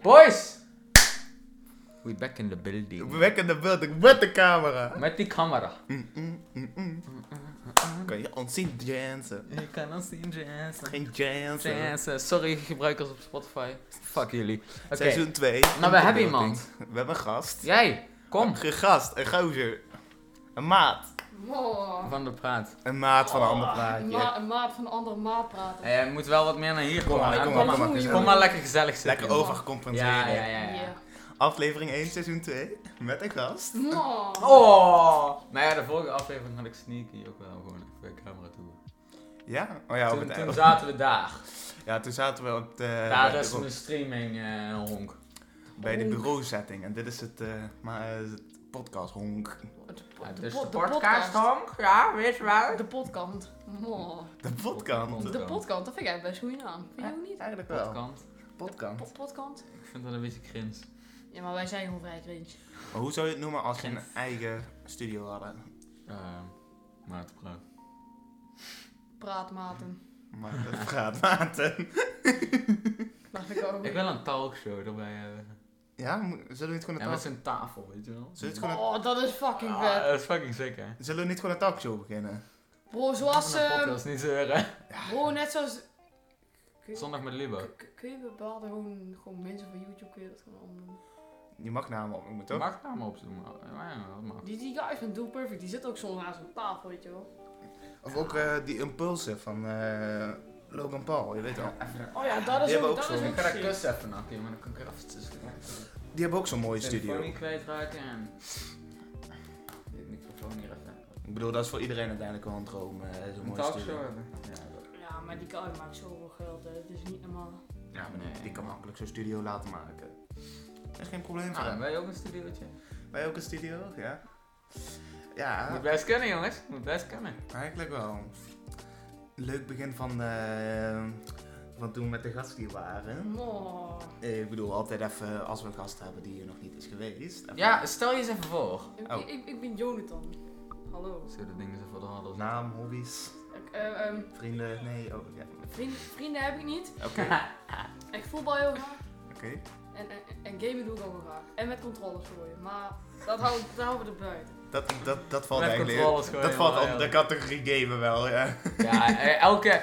Boys! We back in the building. Weg in de building met de camera. Met die camera. Kan je ons zien dansen? Ik kan ons zien, Jansen. Geen dansen. Jansen. Sorry gebruikers op Spotify. Fuck jullie. Oké, Seizoen 2. Nou, we hebben iemand. We hebben een gast. jij. Kom. Een gast, een gozer. Een maat. Wow. Van de praat. Een maat van een ander Een plaatje. ma- een maat van een andere maat praten. Hey, Eh, je moet wel wat meer naar hier Kom komen. maar, hè? kom maar, kom maar. Kom Kom maar lekker gezellig zitten. Lekker jongen. overgecompenseren. Ja, ja, ja. ja. Aflevering 1, seizoen 2. Met een gast. Wow. Oh! Nou ja, de vorige aflevering had ik Sneaky ook wel gewoon even bij de camera toe. Ja? Oh ja, op toen, het- toen zaten we daar. ja, toen zaten we op de, Daar bij, is de, mijn streaming eh, honk. bij de bureauzetting. En dit is het, eh, maar, eh, het podcast honk. De, po- Ja, de dus po- de de podcast honk, ja, weet je wel. De podcast. Wow. De podcast. De podcast, dat vind ik eigenlijk best een goede naam. Vind je ook niet? Eigenlijk wel. Podcast. Podcast. Po- podcast? Ik vind dat een beetje cringe. Ja, maar wij zijn gewoon vrij cringe. Maar hoe zou je het noemen als je een eigen studio hadden? Ehm maar te praat. Praatmaten. Maar dat gaat maten. Dat vind ik ook. Ik wil een talkshow erbij hebben. Ja, mo- zullen we niet gewoon Ja, een met talk... zo'n tafel, weet je wel. Zullen we het gewoon Oh, dat is fucking Ah, vet. dat is fucking sick, hè. Zullen we niet gewoon een talkshow beginnen? Bro, zoals... Zonder ehm, podcast, niet zeuren. bro, net zoals... Kun je, Zondag met Libo. kun- kun je bepaalde gewoon, gewoon mensen van YouTube, kun je dat gewoon omdoen? Je mag namen opnoemen, toch? Mag namen opzoeken. Ja, ja, dat mag. Die, die guys van Do Perfect, die zitten ook soms aan zo'n tafel, weet je wel. Of ook eh, die impulsen van eh, Logan Paul, je weet wel. Oh ja, dat is Die hebben ook, ook dat zo'n- is Ik ook ga dat sick. kus even nakken, maar dan kan ik er even tussen Die hebben ook zo'n mooie De telefoon studio. niet kwijtraken en... Dit microfoon hier even. Ik bedoel, dat is voor iedereen uiteindelijk wel een droom, eh, zo'n Een mooie talkshow studio. hebben. Ja, dat- Ja, maar die guy maakt zoveel geld, hè. het is niet normaal. Ja, maar die- die kan makkelijk zo'n studio laten maken. Dat is geen probleem voor Nou, hem. wij ook een studiootje. Wij ook een studio, ja. Ja, Moet best kunnen, jongens. Moet best kunnen. eigenlijk wel. Leuk begin van, eh, van toen we met de gasten die waren. Oh. Eh, Ik bedoel, altijd even als we een gast hebben die hier nog niet is geweest. even Ja, stel je eens even voor. Ik, Oh. ik, ik ben Jonathan. Hallo. Zo, dat ding is even de hardels. Naam, hobby's, Ik, eh, ehm, vrienden, nee, oh ja. vriend- vrienden heb ik niet. Oké, Nou. Ik voetbal heel graag. oké. En, en, en gamen doe ik ook wel graag. En met controllers gooien. Maar dat houden dat houden we er buiten. Dat, dat, dat valt Met controles eigenlijk. gewoon eh, Dat valt helemaal, onder de categorie gamen wel, ja. Ja, eh, elke...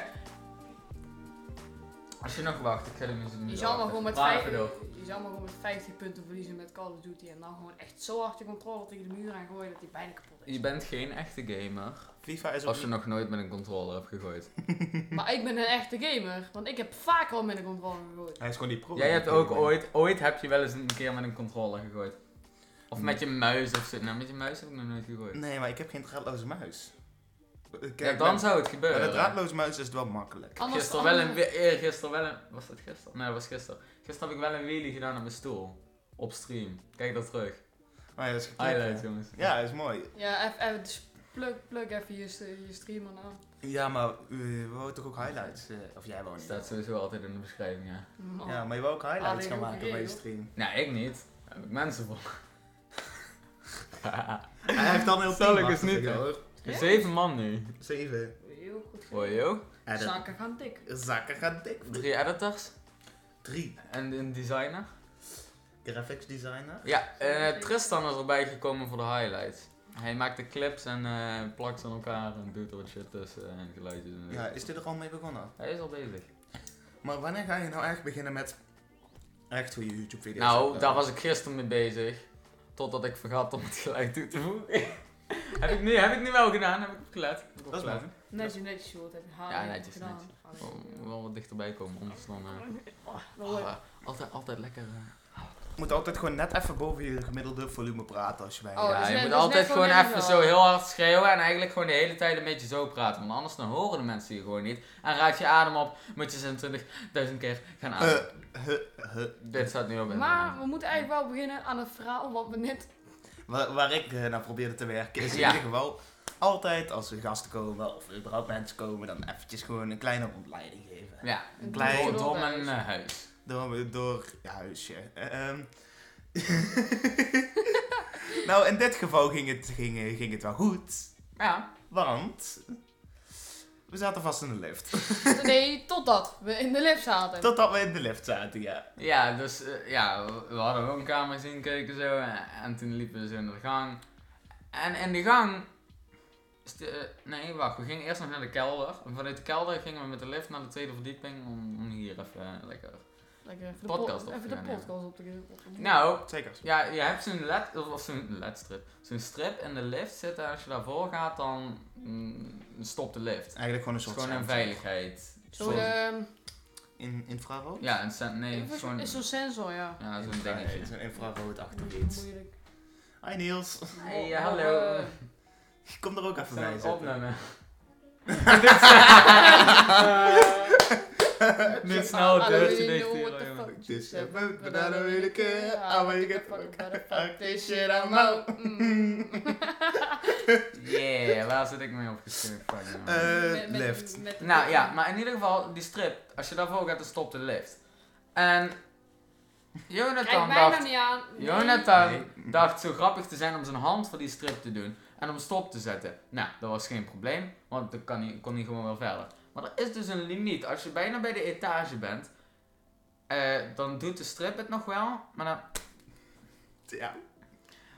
Als je nog wacht, ik ga de muziek Je niet zou maar gewoon met, Praat vijf, even door. je zou maar gewoon met 50 punten verliezen met Call of Duty. En dan gewoon echt zo hard je controller tegen de muur aan gooien dat die bijna kapot is. Je bent geen echte gamer FIFA is ook als je nog nooit met een controller hebt gegooid. Maar ik ben een echte gamer. Want ik heb vaak al met een controller gegooid. Hij is gewoon die pro. Jij hebt ook ooit, ooit heb je wel eens een keer met een controller gegooid. Of met je muis of zo. Nou, met je muis heb ik nog nooit gegooid. Nee, maar ik heb geen draadloze muis. Eh, Kijk, ja, dan met, zou het met een gebeuren. draadloze muis is het wel makkelijk. Anders, Gisteren wel een... anders- wi- Eergisteren wel een... Was dat gisteren? Nee, dat was gisteren. Gisteren heb ik wel een wheelie gedaan aan mijn stoel. Op stream. Kijk dat terug. Maar ja, dat is geknipt, Highlights, hè. jongens. Ja, dat is mooi. Ja, even, even dus plug, plug even je, st- je streamer aan. Ja, maar eh, we wouden toch ook highlights? eh, of jij wou niet. Staat sowieso altijd in de beschrijving, ja. Man. Ja, maar je wou ook highlights Ah, Alleen gaan ook maken bij je real. stream. Nou, ik niet. Daar heb ik mensen voor. Hij heeft dan heel Zal veel ik eens niet, hè? hoor. Ja? Zeven man nu. Zeven. Heel goed gedaan. Voor jou. Ja, dat- Zaken gaan dik. Zakken gaan dik. Drie editors. Drie. En een designer. Graphics designer. Ja, eh, Tristan is erbij gekomen voor de highlights. Hij maakt de clips en eh, plakt ze aan elkaar en doet er wat shit tussen en geluidjes en zo. Ja, is dit er al mee begonnen? Hij is al bezig. Maar wanneer ga je nou echt beginnen met echt goede YouTube video's? Nou, daar was ik gisteren mee bezig. Totdat ik vergat om het geluid toe te voegen. heb, ik nu, heb ik nu wel gedaan, heb ik op gelet. Heb ik op Dat is gelet. mooi. Netjes, netjes, joh. Dat heb je haar Ja, niet netjes, gedaan. netjes. Ah, Ik wil wel wat dichterbij komen, anders dan... eh, Oh, dan oh, hoor je- eh, altijd, altijd lekker... eh, Je moet altijd gewoon net even boven je gemiddelde volume praten als je bij. Oh, ja, dus je net- moet dus altijd net gewoon gewoon even net zo wel. heel hard schreeuwen en eigenlijk gewoon de hele tijd een beetje zo praten. Want anders dan horen de mensen je gewoon niet. En raakt je adem op, moet je 26.000 keer gaan Eh, ademen. huh, huh. Dit staat nu op Maar internet. we moeten eigenlijk wel beginnen aan het verhaal wat we net... Waar, waar ik eh, naar probeerde te werken is in Ja. ieder geval altijd als er gasten komen of überhaupt mensen komen, dan eventjes gewoon een kleine rondleiding geven. Ja, Een klein- rondom doel- een eh, huis. Door, door je huisje. Eh, ehm. nou, in dit geval ging het, ging, ging het wel goed. Ja, Want We zaten vast in de lift. Dus, Nee, totdat we in de lift zaten. Totdat we in de lift zaten, ja. Ja, dus eh, ja, we- we hadden een woonkamer zien kijken zo. En, en toen liepen we zo naar de gang. En in de gang. is de- eh, nee, wacht. We gingen eerst nog naar de kelder. En vanuit de kelder gingen we met de lift naar de tweede verdieping. Om, om hier even eh, lekker. Lekker even de, Podcast po- op even te de gaan podcast op te geven. Nou, Zeker. ja, je hebt zo'n led, of zo'n ledstrip. Zo'n strip in de lift zitten. En als je daarvoor gaat, dan mm, stopt de lift. Eigenlijk gewoon een Het is soort gewoon een sensor. veiligheid. Zo Soort- de, In infrarood? Ja, een sen- nee, is zo'n. is zo'n sensor, ja. Ja, zo'n Infra- dingetje. Zo'n infraroodachtig iets. Moeilijk. Hi Niels. Hey, Mo- hallo. eh, Kom er ook even bij Zo, zitten. opnemen. Dit Niet snel, I don't deur te really dicht know hier, what the jongen. fuck This you said, happened, but but I don't really care. I wanna give a get fuck fuck about the out fuck this this shit Mm. shit I'm I'm out. Yeah, waar zit ik mee opgeschreven? Fuck, jongen. Eh, Met- met- lift. met- nou ja, maar in ieder geval, die strip, als je daarvoor gaat, dan stopt de lift. En Kijk Jonathan mij nou dacht, niet aan. Nee. Jonathan Nee. dacht zo grappig te zijn om zijn hand voor die strip te doen en om stop te zetten. Nou, dat was geen probleem, want dan kan hij, kon hij gewoon wel verder. Maar er is dus een limiet. Als je bijna bij de etage bent, eh, dan doet de strip het nog wel, maar dan Ja.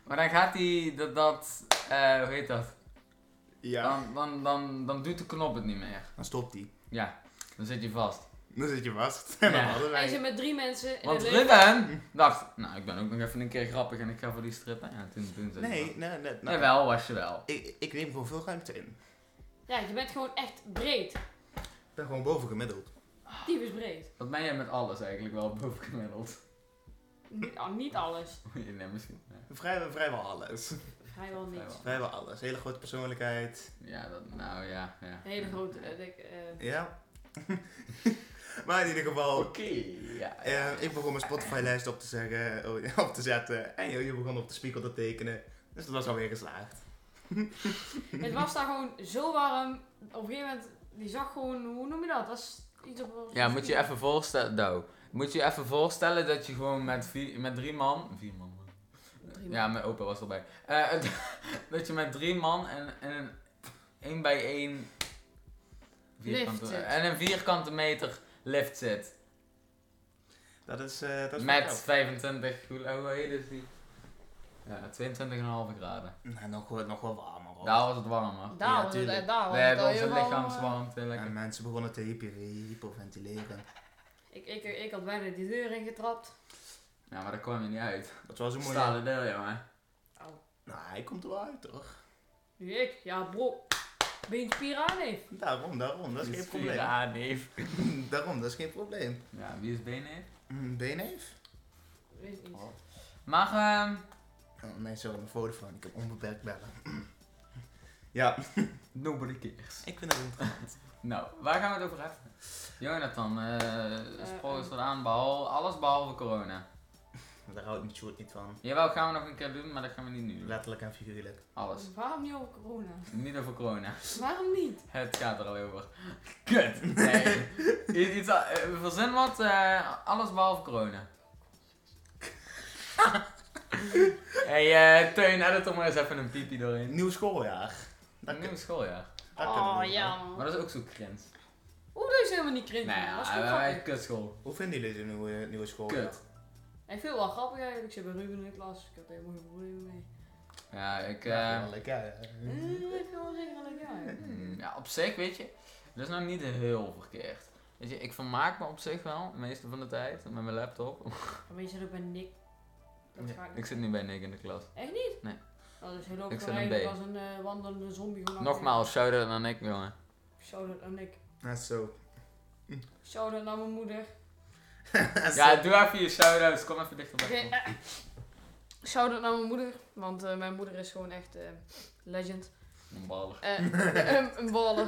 Maar dan gaat hij dat, dat eh, hoe heet dat? Ja. Dan, dan, dan, dan doet de knop het niet meer. Dan stopt die. Ja, dan zit je vast. Dan zit je vast. En dan Ja. hadden Hij wij... zit met drie mensen in Want het lift. Ruben dacht, nou ik ben ook nog even een keer grappig en ik ga voor die strippen. Ja, toen, toen zei Nee, Nou. hij nee, nee. dat. nee. Jawel, was je wel. Ik, ik neem gewoon veel ruimte in. Ja, je bent gewoon echt breed. Ik ben gewoon boven gemiddeld. Typisch breed. Dat ben je met alles eigenlijk wel bovengemiddeld. Niet, ah, niet alles. Je neemt misschien. ja. Vrij, vrijwel alles. Vrijwel niks. Vrijwel alles. Hele grote persoonlijkheid. Ja, dat, nou ja. ja. Een hele grote, eh, dik, eh, Ja. maar in ieder geval... Oké, ja. eh, ik begon mijn Spotify-lijst op te, zeggen, oh, ja, op te zetten. En jullie begonnen op de spiegel te tekenen. Dus dat was alweer geslaagd. Het was daar gewoon zo warm. Op een gegeven moment, die zag gewoon, hoe noem je dat? Dat is iets op... Ja, moet je even voorstellen, nou, moet je even voorstellen dat je gewoon met, vier, met drie man, vier man, Drie man. ja, mijn opa was erbij, Eh, dat je met drie man en, en een één bij één vierkante, Lift zit. en een vierkante meter lift zit, Dat is... eh, dat is wel- met 25, hoe, hoe heet het die? Ja, 22,5 graden. Nou, nog, wel- nog wel warmer. hoor. Daar was het warmer. Daar Ja, was het, tuurlijk. eh, daar was We het hebben al onze helemaal, eh, lichaamswarmte En lekker. mensen begonnen te hyper- hyperventileren. eh, Ik, ik, ik had bijna die deur ingetrapt. Ja, maar daar kwam je niet uit. Dat was een mooie... Stalen deur, jongen. Au. Nou, hij komt er wel uit, toch? Oh, Nu ik? Ja, bro. Beentje piraan heeft. Daarom, daarom. Dat is geen probleem. Ja, neef. Daarom, dat is geen probleem. Ja, wie is benen? Mm, Beenheef? Weet Oh, niet. Maar, ehm, Oh, nee, sorry, mijn Vodafone. Ik heb onbeperkt bellen. Ja, nobody cares. ik vind het interessant. Nou, waar gaan we het over hebben? Jonathan, eh sprong is eh. er aan, behalve, alles behalve corona. Daar houdt mijn short niet van. Jawel, gaan we nog een keer doen, maar dat gaan we niet nu doen. Letterlijk en figuurlijk. Alles. Waarom niet over corona? Niet over corona. Waarom niet? Het gaat er al over. Kut. Nee. I- Iets, a- eh, verzin wat, eh, alles behalve corona. hey, eh Teun, edit er maar eens even een piepie doorheen. Nieuw schooljaar. Daar kun- Nieuw schooljaar. daar kunnen we Oh nog ja, aan. Maar man. dat is ook zo krins. Oeh, dat is helemaal niet cringe. Nou man. dat is gewoon ja, eh, grappig. kutschool. Hoe vinden jullie dit nieuwe, nieuwe schooljaar? Kut. Ik vind het wel grappig eigenlijk. Ik zit bij Ruben in de klas. Ik heb daar helemaal geen probleem mee. Ja, ik... Ja, eh, heerlijk, ja. Eh, Ik vind wel regelijk, ja. Hmm, Ja, op zich, weet je, dat is nou niet heel verkeerd. Weet je, ik vermaak me op zich wel, de meeste van de tijd, met mijn laptop. Weet je dat ik bij Nick... Dat Ja, ga ik ik zit niet bij Nick in de klas. Echt niet? Nee. Dat is heel ook Ik zit gewoon een B. eigenlijk als een eh, wandelende zombie. gewoon achter- Nogmaals, shout-out naar Nick, jongen. Shout-out aan Nick. Dat is zo. Shout-out naar mijn moeder. Ja, doe even je shout-outs, kom even Oké. dichterbij. eh, shout-out naar mijn moeder. Want eh, mijn moeder is gewoon echt eh, legend. Een baller. Eh, een- een baller.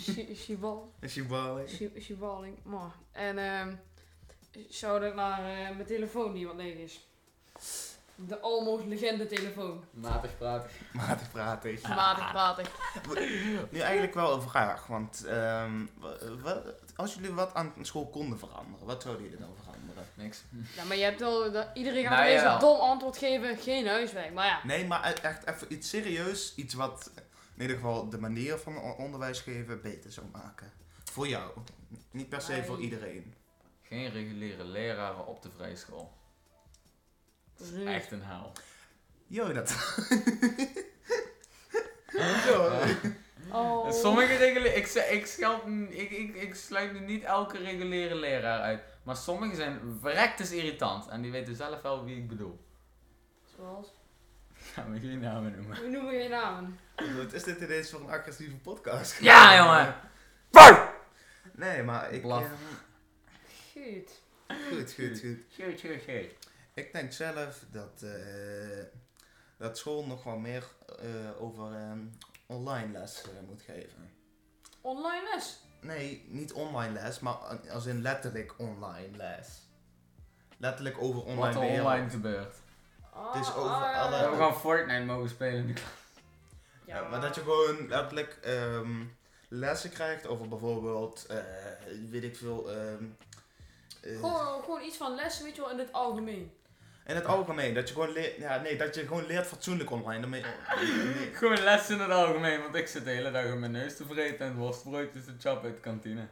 She, she ball. Is je ballen? She, she balling. Maar. En ehm shout-out naar eh, mijn telefoon die wat leeg is. De almost legende telefoon. Matig praten. Matig praten. Matig Ah. pratig. Nu eigenlijk wel een vraag, want ehm, wa- wa- als jullie wat aan school konden veranderen, wat zouden jullie dan veranderen? Niks. Ja, maar je hebt wel... Dat, iedereen gaat Nou, ineens een jawel. dom antwoord geven. Geen huiswerk. Maar ja. Nee, maar e- echt even iets serieus, iets wat in ieder geval de manier van o- onderwijs geven beter zou maken. Voor jou. Niet per se voor Ai. iedereen. Geen reguliere leraren op de vrijschool. Echt een haal. Jo, dat. Oh. Sommige reguliere... Ik, ze- ik, scheld, n- ik, ik, ik sluit nu niet elke reguliere leraar uit. Maar sommige zijn verrektes irritant. En die weten zelf wel wie ik bedoel. Zoals? Gaan we geen namen noemen. We noemen geen namen. Wat is dit ineens voor een agressieve podcast? Ja, jongen! Nee, maar ik... Blaf. ehm, Goed. goed, goed, goed. Shoot, shoot, shoot. Ik denk zelf dat, eh, dat school nog wel meer eh, over ehm, online les eh, moet geven. Online les. Nee, niet online les, maar als in letterlijk online les. Letterlijk over Wat online er wereld. online gebeurt. Ah, Het is over ah, ja, We alle- ja. hebben gewoon Fortnite mogen spelen in de klas. Ja, maar dat je gewoon letterlijk ehm, lessen krijgt over bijvoorbeeld, eh, weet ik veel, ehm, eh, Gewoon, gewoon iets van les, weet je wel, in het algemeen. in het algemeen. Dat je gewoon leert, ja, nee, dat je gewoon leert fatsoenlijk online. Daarmee, nee. Gewoon les in het algemeen, want ik zit de hele dag op mijn neus te vreten en worstbroodjes te chappen uit de kantine.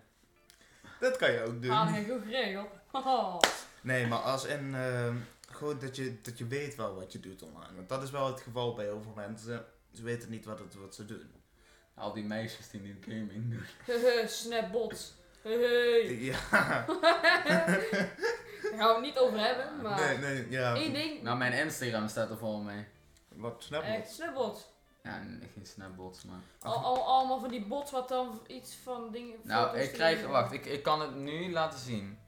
Dat kan je ook doen. Aan en goed geregeld. Haha. Nee, maar als en ehm, gewoon dat je, dat je weet wel wat je doet online. Want dat is wel het geval bij heel veel mensen. Ze weten niet wat, het, wat ze doen. Al die meisjes die nu gaming doen. Hehe, snapbots. Hehe. Ja, Daar gaan we het niet over hebben, maar nee, nee, ja. één ding. Nou, mijn Instagram staat er vol mee. Wat snap ik? Echt snapbots. Ja, n- geen snapbots, nou maar... Al, al, allemaal van die bots wat dan iets van dingen... Nou, foto's ik krijg... dingen- Wacht, ik, ik kan het nu laten zien.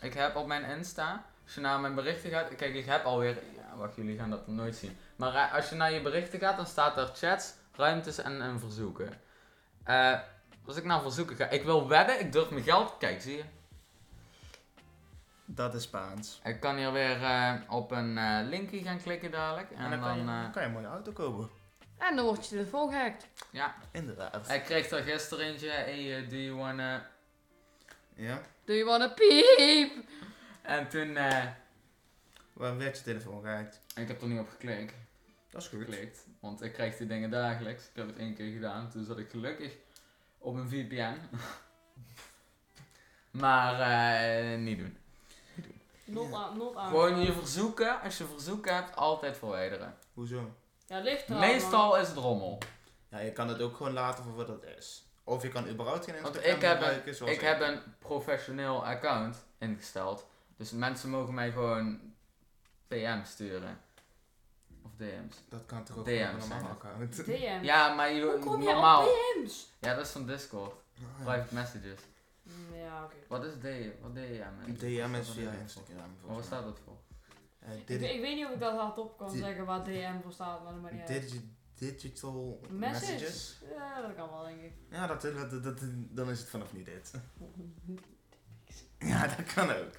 Ik heb op mijn Insta, als je naar mijn berichten gaat... Kijk, ik heb alweer... Ja, wacht, jullie gaan dat nooit zien. Maar eh, als je naar je berichten gaat, dan staat er chats, ruimtes en, en verzoeken. Eh, als ik naar verzoeken ga... Ik wil wedden, ik durf mijn geld... Kijk, zie je? Dat is Spaans. Ik kan hier weer eh, op een eh linkje gaan klikken dadelijk. En, En dan, dan... kan, je, eh, kan je een mooie auto kopen. En dan wordt je telefoon gehackt. ja, Inderdaad. ik kreeg er gisteren eentje. Hey, eh, do you wanna... Ja? Do you wanna peep? En toen... eh, Waar werd je telefoon gehackt? ik heb er niet op geklikt. Dat is goed. geklikt. Want ik krijg die dingen dagelijks. Ik heb het één keer gedaan. Toen zat ik gelukkig op een VPN. maar eh, niet doen. Not aan, not aan. Gewoon je verzoeken, als je verzoeken hebt, altijd verwijderen. Hoezo? Ja, ligt eraan, Meestal is het rommel. Ja, je kan het ook gewoon laten voor wat het is. Of je kan überhaupt geen Want Instagram ik heb een- gebruiken zoals Ik heb een professioneel account ingesteld. Dus mensen mogen mij gewoon PM sturen. Of DM's. Dat kan toch ook DM's op een normale zijn account. man. DM. Ja, maar je, Hoe kom je normaal. op DM's? Ja, dat is van Discord. Private messages. Mm, Ja, oké. Wat is DM? Wat DM is? DM is Wat via dat Instagram. Maar waar staat dat voor? Eh, Ik, dit- weet- ik weet niet of ik dat hardop kan Di- zeggen waar DM voor staat, maar eh, dat maakt niet uit. Digi- digital Message. messages. Ja, dat kan wel, denk ik. Ja, dat, dat, dat- dat- dan is het vanaf nu dit. Ja, dat kan ook.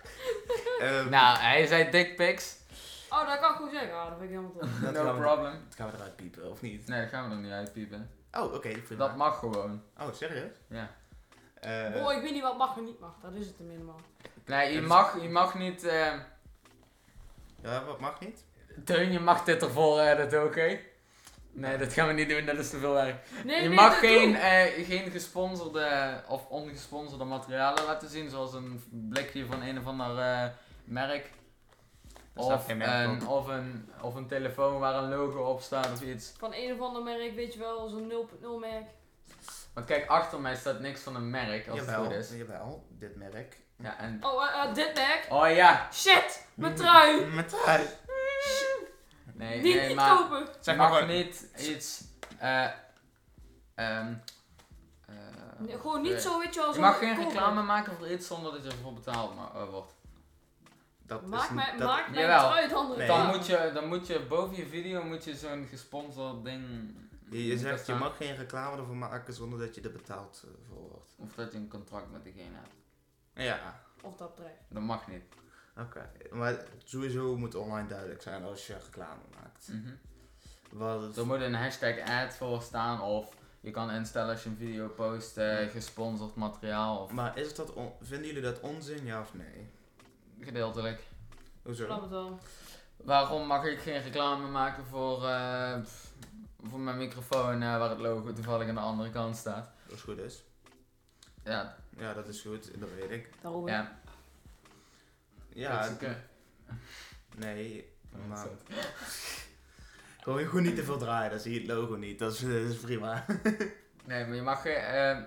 Ehm, Nou, hij zei dick pics. Oh, dat kan ik goed zeggen. Ah, dat vind ik helemaal tof. dat No gaan we- problem. Dat gaan we eruit piepen, of niet? Nee, dat gaan we er niet uitpiepen. Oh, oké, prima. Dat mag gewoon. Oh, serieus? Ja. Eh, Oh, ik weet niet wat mag en niet mag. Dat is het tenminste man. Nee, dus- je mag, je mag niet... eh ja, wat mag niet? Teun, je mag dit ervoor eh, redden, oké? Nee, dat gaan we niet doen, dat is te veel werk. Nee, je nee, mag dat geen, doe- eh, geen gesponsorde of ongesponsorde materialen laten zien, zoals een blikje van een of ander eh, merk. Daar staat Of geen merk een, op. of, een, of een telefoon waar een logo op staat of iets. Van een of ander merk, weet je wel, zo'n 0.0 merk. Want kijk, achter mij staat niks van een merk, als Jawel, het goed is. jawel, dit merk. Ja, en... Oh, eh, eh, dit merk. Oh ja! Shit, mijn trui. Mijn trui. Nee, die nee, niet maar... kopen. Zeg Zeg maar gewoon- niet iets. eh ehm eh, Nee, gewoon niet zo, weet je wel, Je zo'n mag geen kopen. reclame maken voor iets zonder dat je ervoor betaald ma- eh, wordt. Dat Maak is, mij, dat, maak mijn Jawel. trui dan Nee. Dan, Ja. moet je, dan moet je boven je video moet je zo'n gesponsord ding. Je, je zegt, je staan. mag geen reclame ervoor maken zonder dat je er betaald eh, voor wordt. Of dat je een contract met degene hebt. Ja. Of dat bedrijf. Dat mag niet. Oké. Maar sowieso moet online duidelijk zijn als je reclame maakt. Mhm. Wat, Er moet een hashtag ad voor staan of je kan instellen als je een video post eh, gesponsord materiaal of Maar is dat on- vinden jullie dat onzin, ja of nee? gedeeltelijk. Ik snap Hoezo? het wel. Waarom mag ik geen reclame maken voor eh, pff, voor mijn microfoon eh, waar het logo toevallig aan de andere kant staat. Als het goed is. Ja, Ja, dat is goed, dat weet ik. Daarover. ja. Ja, dat is oké. nee, maar... Gewoon je goed niet te veel draaien, dan zie je het logo niet. Dat is, eh, dat is prima. Nee, maar je mag geen, eh, Ja.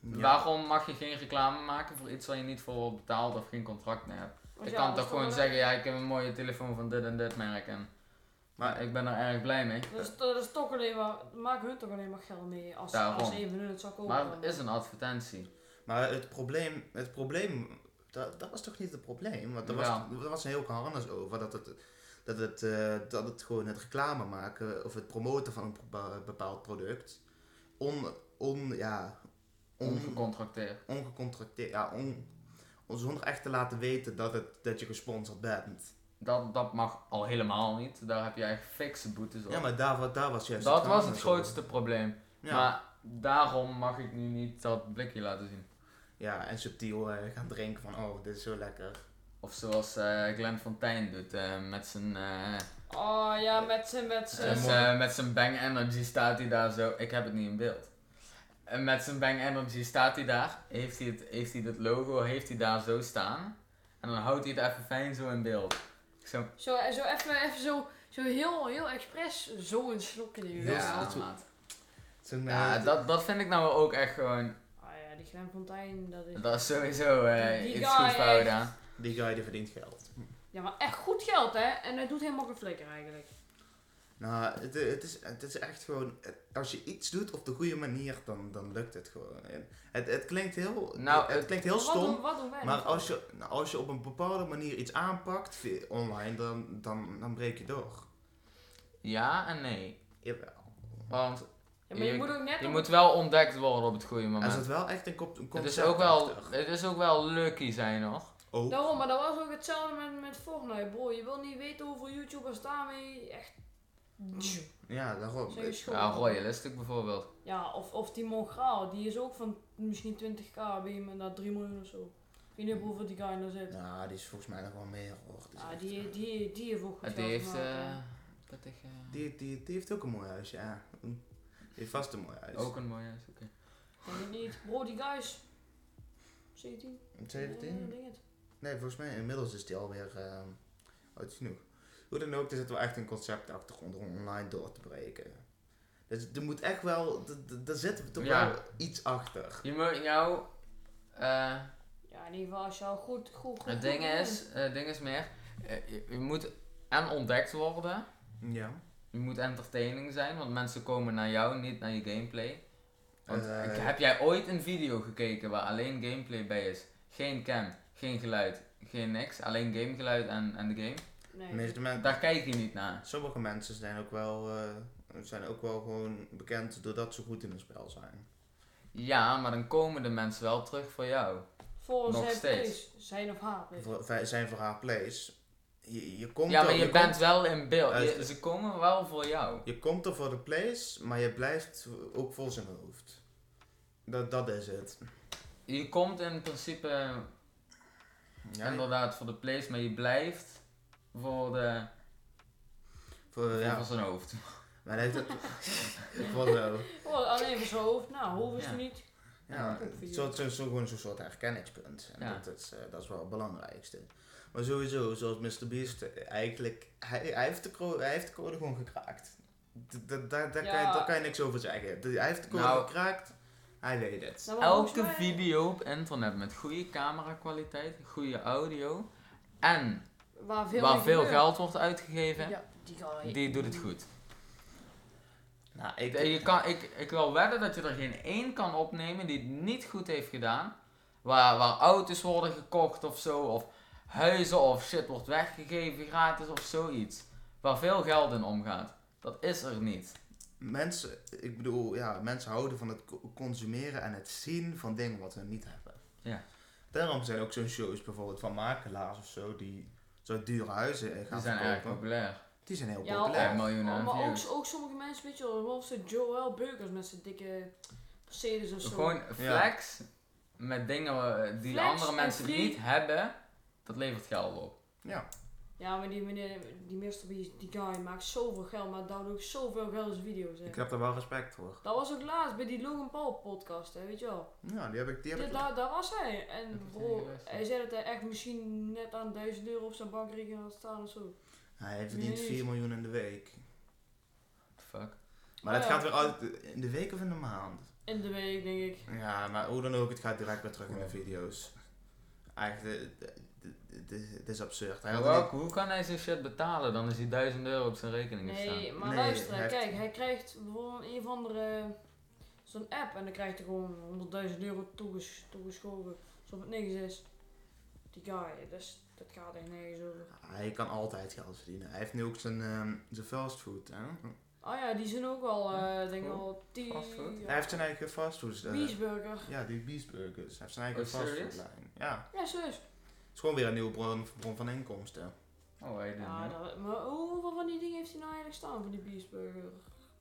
waarom mag je geen reclame maken voor iets waar je niet voor wordt betaald of geen contract mee hebt? Want je ja, kan dat toch is gewoon wel- zeggen, ja, ik heb een mooie telefoon van dit en dit merk en Maar ik ben er erg blij mee. Dat is, dat is toch alleen maar, maken hun toch alleen maar geld mee als, Daarom. als even hun het zou kopen. Maar het is een advertentie. Maar het probleem, het probleem dat, dat was toch niet het probleem? Want er was, Ja. er was een heel harnas over dat het, dat, het, eh, dat het gewoon het reclame maken of het promoten van een bepa- bepaald product on, on, ja, on, Ongecontracteerd. ongecontracteerd, ja, on, on- zonder echt te laten weten dat, het, dat je gesponsord bent. Dat, dat mag al helemaal niet. Daar heb je echt fikse boetes op. Ja, maar daar, wa- daar was juist dat was het harnas over. grootste probleem. Ja, Maar daarom mag ik nu niet dat blikje laten zien. ja, en subtiel eh, gaan drinken van, oh, dit is zo lekker. Of zoals eh Glenn Fontijn doet eh, met zijn eh, Oh ja, met z'n, met z'n. Dus, mooi. eh, met zijn Bang Energy staat hij daar zo. Ik heb het niet in beeld. En met zijn Bang Energy staat hij daar. Heeft hij, het, heeft hij dat logo heeft hij daar zo staan. En dan houdt hij het even fijn zo in beeld. Ik Zo, Zo, en zo even, even zo, zo heel, heel expres zo een slokje nemen. Heel ja, snel maat. toe. Zo'n, ja eh, dat, dat vind ik nou ook echt gewoon. Ah ja, die Glen Fontein, dat is... Dat is sowieso eh, Die iets guy goed fout echt. gedaan. Die guy die verdient geld. Ja, maar echt goed geld, hè? En hij doet helemaal geen flikker eigenlijk. Nou, het, het, is, het is echt gewoon, het- als je iets doet op de goede manier, dan, dan lukt het gewoon. En Het, het klinkt heel, Nou, het, het- klinkt heel Wat doen, stom, wat doen wij? maar nou? als je, nou, als je op een bepaalde manier iets aanpakt vi- online, dan, dan, dan breek je door. Ja en nee. Jawel. Want Ja, maar je, je- moet ook net... je om- moet wel ontdekt worden op het goede Er moment. zit wel echt een kop- een Het concept is, ook wel, achter. Oh, het is ook wel lucky zijn hoor. Ook. Daarom, maar dat was ook hetzelfde met, met Fortnite, bro. Je wil niet weten hoeveel YouTubers daarmee echt... Ja, daarom. Zijn Ja, school. Royalistic bijvoorbeeld. Ja, of, of Timon Graal, die is ook van misschien 20k bij iemand naar 3 miljoen of zo. Ik weet niet op hoeveel die guy nou zit. Nou, die is volgens mij nog wel meer hoor. Die, is Ja, echt- Ah, die, die, die heeft ook goed die geld heeft. gemaakt, eh, hè. dat ik, eh, die, die, die heeft ook een mooi huis, ja. Die heeft vast een mooi huis. Ook een mooie is, oké. Weet ik niet. Bro, die guy is 17. Ja, 17? denk het. Nee, volgens mij inmiddels is die alweer ehm oud genoeg. Hoe dan ook, er zit wel echt een concept achter om er online door te breken. Dus er moet echt wel, d- d- daar zit toch Ja. wel iets achter. Je moet jou. eh, Ja, in ieder geval als je al goed, goed, goed het ding goed is, eh, het ding is meer. eh, je, je moet en ontdekt worden. Ja. Je moet entertaining zijn, want mensen komen naar jou, niet naar je gameplay. Want Eh, ik- heb jij ooit een video gekeken waar alleen gameplay bij is? Geen cam, geen geluid, geen niks. Alleen gamegeluid en, en de game. bent. Nee. de meeste men- Daar kijk je niet naar. sommige mensen zijn ook, wel, eh, zijn ook wel gewoon bekend doordat ze goed in een spel zijn. Ja, maar dan komen de mensen wel terug voor jou. Volgens Nog zijn steeds. vlees, zijn of haar vlees. Voor- wij zijn voor haar place. Je, je komt Ja, maar er, je, bent komt- wel in beeld. Je- Luister. ze komen wel voor jou. je komt er voor de place, maar je blijft ook vol zijn hoofd. Dat, dat is het. Je komt in principe Ja, inderdaad voor de place, maar je blijft voor, de, voor, voor Oh, ja, zijn hoofd. Maar hij heeft het. Voor zo. Oh, alleen voor zijn hoofd. Nou, hoeven ze Ja. niet. Ja, Ook voor zo, zo, zo, gewoon zo'n soort herkenningspunt. En Ja. dat, is, eh, dat is wel het belangrijkste. Maar sowieso, zoals Mr. Beast, eh, eigenlijk, hij, hij, heeft, de code, hij heeft de code gewoon gekraakt. D- d- daar- daar kan je- Ja. daar kan je niks over zeggen. D- Hij heeft de code Nou. gekraakt, hij weet het. Nou, maar volgens Elke mij- video op internet met goede camerakwaliteit, goede audio en Waar veel, waar mee veel gebeurt. geld wordt uitgegeven, Ja, die guy. die doet het goed. Nou, Ik, eh, je kan, ik, ik wil wedden dat je er geen één kan opnemen die het niet goed heeft gedaan. Waar, waar auto's worden gekocht of zo, of huizen of shit wordt weggegeven gratis of zoiets. Waar veel geld in omgaat. Dat is er niet. mensen, ik bedoel, ja, mensen houden van het co- consumeren en het zien van dingen wat ze niet hebben. Ja. Daarom zijn ook zo'n shows bijvoorbeeld van makelaars of zo, die zo dure huizen eh, gaan Die zijn erg verkopen. populair. Die zijn heel Ja, populair. Ja, miljoenen Oh, aan maar ook, views. ook sommige mensen, weet je wel, zoals de Joel Beukers met zijn dikke Mercedes of zo. Gewoon flex met dingen eh, die Flex andere en mensen free. niet hebben, dat levert geld op. Ja. Ja, maar die meneer, die Mr. Beast, die guy maakt zoveel geld, maar daardoor ook zoveel geld als video's. Hè. Ik heb daar wel respect voor. Dat was ook laatst bij die Logan Paul podcast, hè, weet je wel. Ja, die heb ik. Die heb Ja, ik daar, daar was hij. En heb ik niet bro, geluisterd. hij zei dat hij echt misschien net aan 1000 euro op zijn bankrekening had staan of zo. Hij verdient Nee. 4 miljoen in de week. Fuck. Maar Oh dat ja. gaat weer uit in de week of in de maand? In de week, denk ik. Ja, maar hoe dan ook, het gaat direct weer terug in de video's. Eigenlijk, eh, d- d- d- het is absurd. Hij had Maar een- ook, hoe kan hij zijn shit betalen? Dan is hij 1000 euro op zijn rekening Nee, gestaan. maar Nee, luister, hij heeft- kijk, hij krijgt bijvoorbeeld een of andere. zo'n app en dan krijgt hij gewoon 100.000 euro toeges, toegeschoven. Zo het niks is. Die guy, dus dat gaat echt nergens over. Hij kan altijd geld verdienen. Hij heeft nu ook zijn, ehm zijn fastfood. Hè? Ah ja, die zijn ook al, eh denk ik Cool. al, 10. Fastfood? Hij heeft zijn eigen fastfood. eh, Beesburger. ja, die Beastburgers. Hij heeft zijn eigen Oh, serious? fastfoodlijn. Ja, Ja, serieus. het is gewoon weer een nieuwe bron, bron van inkomsten. Oh, hij doet Ja, niet. dat, maar hoeveel van die dingen heeft hij nou eigenlijk staan van die Beesburger?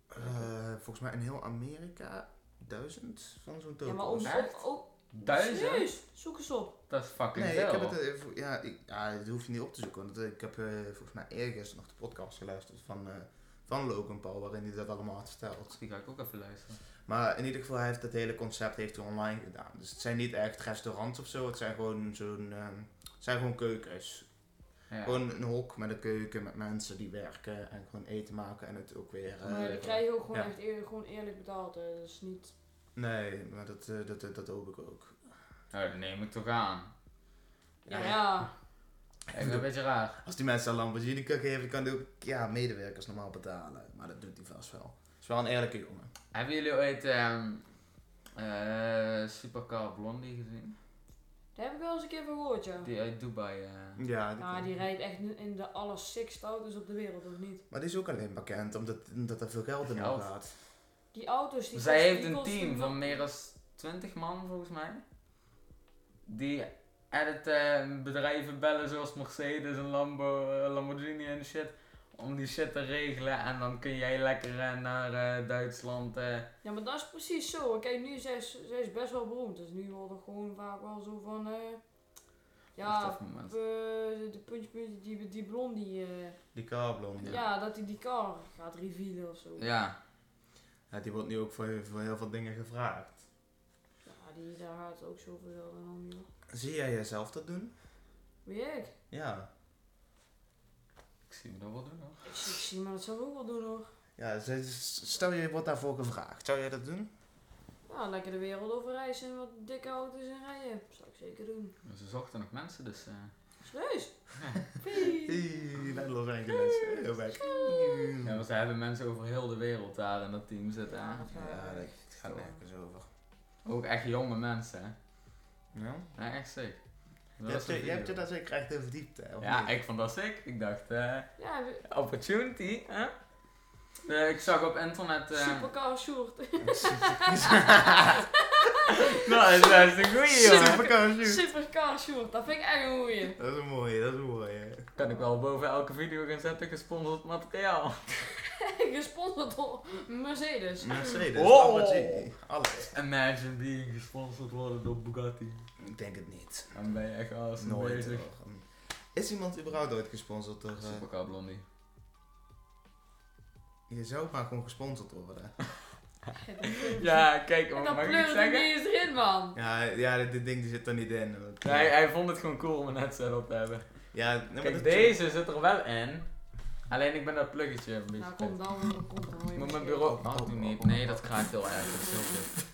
Eh, volgens mij in heel Amerika duizend van zo'n Ja, tokens. maar ook, echt? ook, ook- Duizend? serieus, zoek eens op. Dat is fucking Nee, veel. ik heb het, eh, vo- ja, ik, ja, dat hoef je niet op te zoeken. Want eh, ik heb eh, volgens mij eergisteren nog de podcast geluisterd van, eh, van Logan Paul, waarin hij dat allemaal had verteld. Die ga ik ook even luisteren. Maar in ieder geval, hij heeft dat hele concept heeft hij online gedaan. Dus het zijn niet echt restaurants of zo, het zijn gewoon zo'n... ehm, het zijn gewoon keukens. Ja. Gewoon een hok met een keuken, met mensen die werken en gewoon eten maken en het ook weer... eh, Maar die krijg je ook gewoon ja. echt eerlijk, gewoon eerlijk betaald. Hè. Dat is niet Nee, maar dat, eh, dat, dat, dat hoop ik ook. Nou, dat neem ik toch aan. Ja, Ja. ja. Ik ben een beetje raar. Als die mensen een Lamborghini kan geven, kan hij ook ja, medewerkers normaal betalen. Maar dat doet hij vast wel. is wel een eerlijke jongen. Hebben jullie ooit ehm eh, Supercar Blondie gezien? daar heb ik wel eens een keer van gehoord, ja. Die uit Dubai. eh, Ja, Maar die rijdt echt in- in de aller six auto's op de wereld, of niet? Maar die is ook alleen bekend omdat, omdat er veel geld in Geld. gaat. Die auto's die Zij kosten- heeft die een kosten team wel- van meer dan 20 man volgens mij. Die edit eh, bedrijven bellen zoals Mercedes en Lambo, eh, Lamborghini en shit. Om die shit te regelen en dan kun jij lekker eh, naar eh, Duitsland. eh. Ja, maar dat is precies zo. Kijk, nu is zij, zij is best wel beroemd. Dus nu wordt er gewoon vaak wel zo van... eh, Op ja, dat moment. eh, de puntje, puntje, die, die blondie. eh, Die Carblom. ja. Ja. dat hij die car gaat revealen of zo. Ja, Ja, Ja, die wordt nu ook voor, voor heel veel dingen gevraagd. die, daar gaat ook zoveel geld aan om, joh. Zie jij jezelf dat doen? Wie ik? Ja. ik zie me dat wel doen hoor. Ik, zie- ik zie me dat zelf ook wel doen, hoor. Ja, ze- stel je wordt daarvoor gevraagd. Zou jij dat doen? Ja, Nou, lekker de wereld over reizen en wat dikke auto's en rijden. Zou ik zeker doen. Maar Ze zochten nog mensen dus. eh. Serieus? Hey, naar Los Angeles. Heel weg. Ja, maar ze hebben mensen over heel de wereld daar in dat team zitten. hè. Ja, dat het gaat nergens over. Ook echt jonge mensen. hè. Ja? Ja, echt sick. Dat was Je hebt een je, je hebt je video. daar zeker echt in verdiept, hè? of Ja, niet? ik vond dat sick. Ik dacht, eh. Ja, we- opportunity, hè? Eh, ik zag op internet. eh, supercar short. Nou, dat is best een goeie, jongen. Superkantje. supercar short, dat vind ik echt een goeie. Dat is een mooie, dat is een mooie. Kan ik wel boven elke video gaan zetten, gesponsord materiaal. Gesponsord door Mercedes. Mercedes, Oh. Lamborghini, alles. Imagine being gesponsord worden door Bugatti. Ik denk het niet. Dan ben je echt als Nooit. bezig. hoor. Is iemand überhaupt ooit gesponsord door... eh, Supercar Blondie. je zou maar gewoon gesponsord worden. Ja, kijk, En wat dan mag ik iets pleurde zeggen? niet eens erin, man. Ja, ja dit, dit ding die zit er niet in. want- Nee, hij vond het gewoon cool om een headset op te hebben. Ja, nee, maar Kijk, dat- deze zit er wel in. Alleen ik ben dat pluggetje een beetje. Nou, kom dan, kom dan. Ik moet mijn bureau. Oh, doe niet. Nee, dat kraakt heel erg. Dat is heel kut.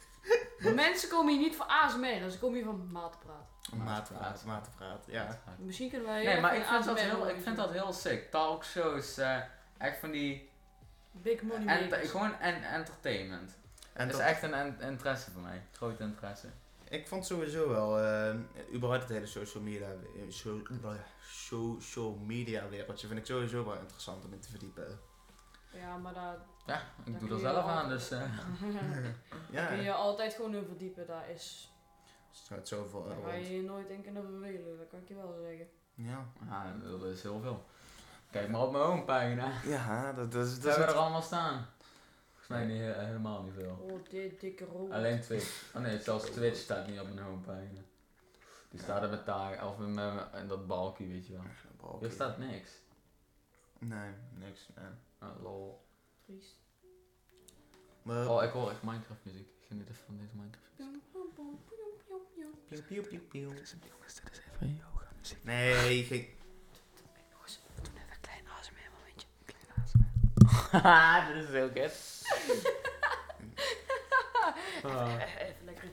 De mensen komen hier niet voor ASMR, ze komen hier van maat te praten. Maatpraat, maatpraat, ja. Misschien kunnen wij... Nee, echt maar een ik vind, dat ASMR heel, ik doen. vind dat heel sick. Talkshows, eh echt van die. Big money ent- makers. gewoon en eh, entertainment. En dat dat, is echt een en- interesse voor mij. Groot interesse. ik vond sowieso wel, eh, überhaupt het hele social media, so- social media wereldje, vind ik sowieso wel interessant om in te verdiepen. Ja, maar daar... Ja, ik Daar doe kun er je zelf wel- aan, dus. eh, Ja, kun er je altijd gewoon in verdiepen, daar is... staat zoveel Oh, Daar in ga rond. je je nooit in kunnen vervelen, dat kan ik je wel zeggen. Ja. ja, dat is heel veel. Kijk maar op mijn homepagina. Ja, dat, dat is... Wat hebben we er allemaal staan? Volgens mij niet, eh, helemaal niet veel. Oh, dit dikke robot. Alleen Twitch. Oh nee, zelfs Twitch staat niet op mijn homepagina. Die staat er met taai, of met, met- met dat balkje, weet je wel. Balken. Hier staat niks. Nee, niks. nee. Ah, lol. Triest. Maar, Oh, ik hoor echt Minecraft muziek. Ik geniet even van deze Minecraft Pieuw, pieuw, pieuw, pieuw. Jongens, dit is even yoga muziek. Nee, geen... We doen even een klein ASMR momentje. Haha, dit is zo ket. Ah. Eh, Even lekker.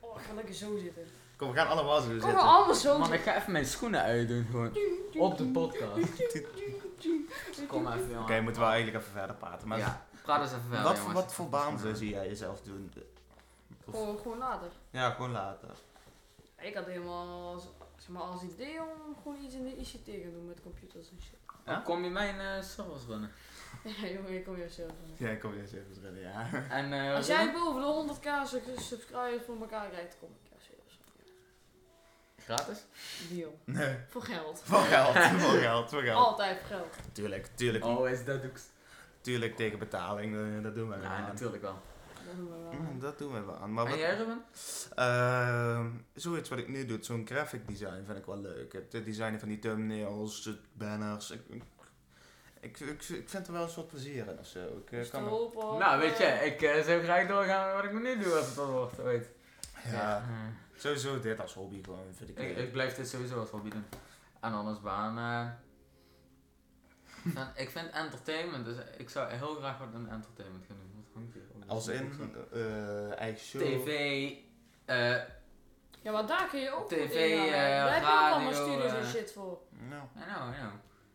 Oh, ik ga lekker zo zitten. Kom, we gaan allemaal zo Kom zitten. maar allemaal zo Man, zitten. ik ga even mijn schoenen uitdoen gewoon. Op de podcast. Kom even, jongen. Oké, moeten we eigenlijk even verder praten. Maar Ja, praat eens even verder, wat, voor- jongens. wat voor baan zou- zie jij jezelf doen? Gewoon, gewoon later. Ja, gewoon later. Ik had helemaal als, zeg maar, als idee om gewoon iets in de ICT te gaan doen met computers en shit. Dan kom je mijn eh servers runnen. Ja, jongen, ik kom hier zelf van. Ja, ik kom eens even terug, ja. En eh Als jij Ruben? boven de 100k sub- subscribers voor elkaar krijgt, kom ik ja, serieus. gratis? Deal. Nee. Voor geld. Voor geld, voor geld, voor geld. Altijd voor geld. Tuurlijk, tuurlijk, Oh, is dat ook. tuurlijk tegen betaling, eh, dat doen we wel Ja, aan. natuurlijk wel. Dat doen we wel. Mm, Dat doen we wel aan. Maar en wat, jij, Ruben? Ehm, zoiets wat ik nu doe, zo'n graphic design vind ik wel leuk. Het designen van die thumbnails, de banners. Ik, ik, ik, ik vind er wel een soort plezier in of zo. Ik, eh, Dus kan de me- hoop op, nou, weet je, eh, ik eh, zou graag doorgaan met wat ik me nu doe als het wat wordt, weet. ja, eh, sowieso dit als hobby gewoon vind ik, ik, leuk. ik blijf dit sowieso als hobby doen. En anders baan. eh, ik vind- ik vind entertainment, dus ik zou heel graag wat in entertainment gaan doen. Wat hangt hier? Oh, dat Als is in ook zo. eh, eigen show. TV, eh, Ja, maar daar kun je ook TV, voor ingaan. Daar eh, heb je ook allemaal radio, studios en eh, shit voor. Nou, I know, I know.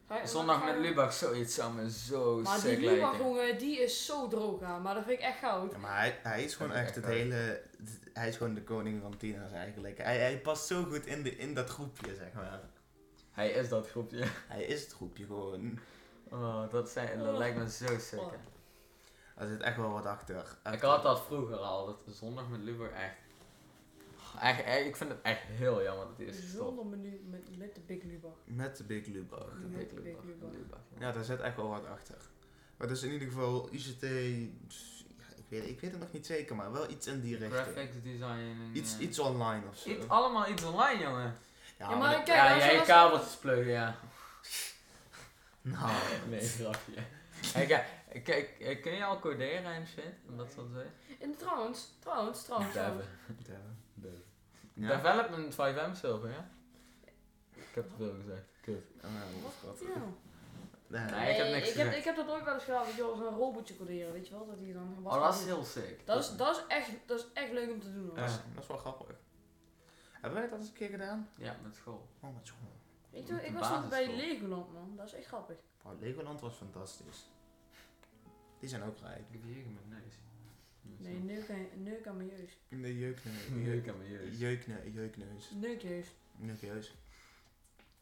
Ga je- Zondag ga je- met eh, Lubach, zoiets zou me zo Maar die sick Lubach, lijken. jongen, die is zo droog aan. Maar dat vind ik echt goud. ja, maar hij, hij is gewoon Dat is echt echt het leuk. hele... Hij is gewoon de koning van tieners eigenlijk. Hij, hij past zo goed in, de, in dat groepje, zeg maar. Hij is dat groepje. Hij is het groepje gewoon. Oh, dat, zijn, dat Oh. lijkt me zo sick. Oh. hè. Er zit echt wel wat achter. Ik had dat vroeger al, dat zondag met Lubach echt. Echt, echt- ik vind het echt heel jammer dat die is gestopt. Zonder menu met, met de Big Lubach. Met de Big Lubach. De Met Big de Lubach, Big de Lubach. Lubach, ja. Ja, daar zit echt wel wat achter. Maar dus in ieder geval ICT, pff, ja, ik, weet, ik weet het nog niet zeker, maar wel iets in die richting. Graphics design. en, eh, Iets, eh, iets online of zo. iets- allemaal iets online, jongen. Ja, maar dat- Kijk, ja, als je jij als- kabeltjes pluggen, ja. Nou, Nee, grapje. Hey, kijk, kijk, eh, kun je al coderen en shit? En dat soort dingen? En trouwens, trouwens, trouwens. trouwens. Deven- de- ja. Ja. Development 5M server, ja? Ik heb te veel gezegd. Kut. Oh, Wat? wat- Ja. Nee. Eh. Nee. ik heb niks ik, heb, gezegd. ik heb dat nooit wel eens gedaan, weet je wel, zo'n robotje coderen, weet je wel, dat die dan gebakken Oh, dat is wordt. heel sick. dat is, dat is echt, dat is echt leuk om te doen hoor. Dat, is, dat is wel grappig. Hebben wij dat eens een keer gedaan? Ja, met school. Oh, met school. Weet Met je, ik de was nog bij basisschool. Legoland man, dat is echt grappig. Oh, Legoland was fantastisch. Die zijn ook rijk. Ik heb hier met neus. Nee, neuk aan, neuk aan mijn jeus. De jeukneus. Leuk aan mijn jeugd. Jeukneus. Jeukneus. Neuk jeus. Jeukneus.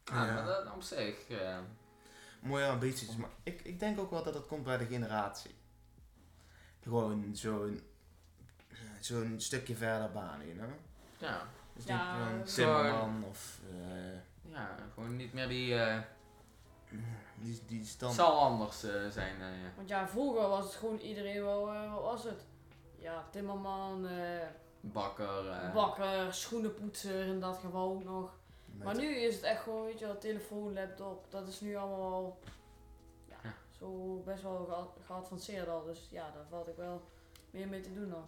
Ah, Ja. maar dat op zich. eh, mooie ambities. Maar ik, ik denk ook wel dat dat komt bij de generatie. Gewoon zo'n zo'n stukje verder baan in, hè? ja. Dus Ja, denk eh, een timmerman of eh, ja, gewoon niet meer die. eh, die, die het stand. zal anders eh, zijn. eh, ja. Want ja, vroeger was het gewoon iedereen wel, eh, wat was het? Ja, timmerman, eh, Bakker. eh, bakker, schoenenpoetser in dat geval ook nog. met- Maar nu is het echt gewoon, weet je wel, telefoon, laptop, dat is nu allemaal wel, ja, Ja. zo best wel gead- geadvanceerd al. Dus ja, daar valt ik wel meer mee te doen dan.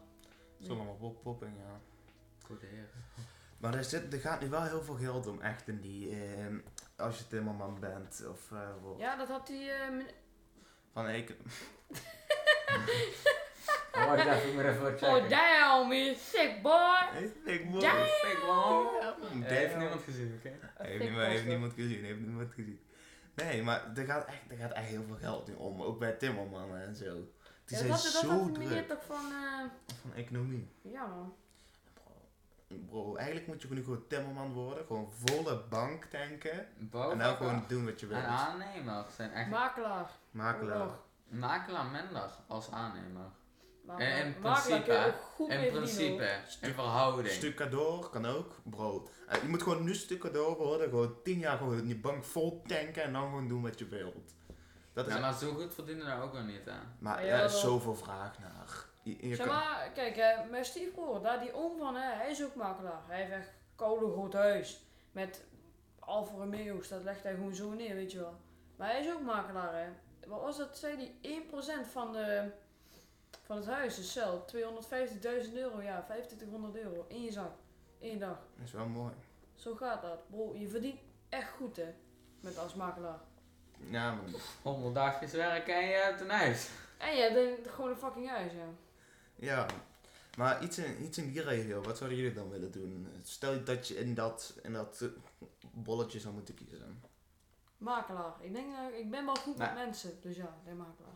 Zo maar pop popping, ja. Coderen. Maar er, zit, er gaat nu wel heel veel geld om, echt in die. eh, als je timmerman bent of. eh, wat. Ja, dat had die... eh, men- Van ik. Oh, ik dacht, ik moet even wat checken. oh, damn, you sick boy! Ik moet. Damn! Fake one. Damn. Eh, heeft niemand gezien, oké? Heeft, niemand, heeft niemand gezien, heeft niemand gezien. Nee, maar er gaat echt, er gaat echt heel veel geld in om. Ook bij Timmermannen en zo. Die Ja, dat zijn had, dat had zo die meneer druk toch van... eh, van economie. ja, man. Bro, bro, eigenlijk moet je gewoon gewoon Timmerman worden. Gewoon volle bank tanken. Bouwvakker en dan gewoon doen wat je Oh, en wilt. Ah, aannemer zijn echt Makelaar. Makelaar. Ook. makelaar minder als aannemer. Makelaar. In- in Makelaar kun je principe, ook goed In mee verdienen, hoor. principe, Stuk- in verhouding. Stucadoor kan ook, bro. Eh, je moet gewoon nu stucadoor worden. Gewoon tien jaar gewoon die bank vol tanken en dan gewoon doen wat je wilt. Dat is Ja, maar zo goed verdienen we daar ook wel niet aan. Maar Ja, er wel. is zoveel vraag naar. Je, je Ah, Zeg kan- maar, kijk, hè, mijn stiefbroer, daar die oom van, hè, hij is ook makelaar. Hij heeft echt koude groot huis. Met Alfa Romeo's, dat legt hij gewoon zo neer, weet je wel. Maar hij is ook makelaar, hè. Wat was dat, zei hij, 1% van, de, van het huis is cel. 250.000 euro, ja, 2500 euro. In je zak. Eén dag. Dat is wel mooi. Zo gaat dat. Bro, je verdient echt goed, hè. Met als makelaar. Ja, man. 100 dagjes werken en je hebt een huis. En je hebt een- gewoon een fucking huis, hè. Ja. Maar iets in, iets in die regio, wat zouden jullie dan willen doen? Stel je dat je in dat, in dat eh, bolletje zou moeten kiezen. Makelaar. Ik denk, dat ik ben wel goed Nee. Nou. met mensen. Dus ja, ik ben makelaar.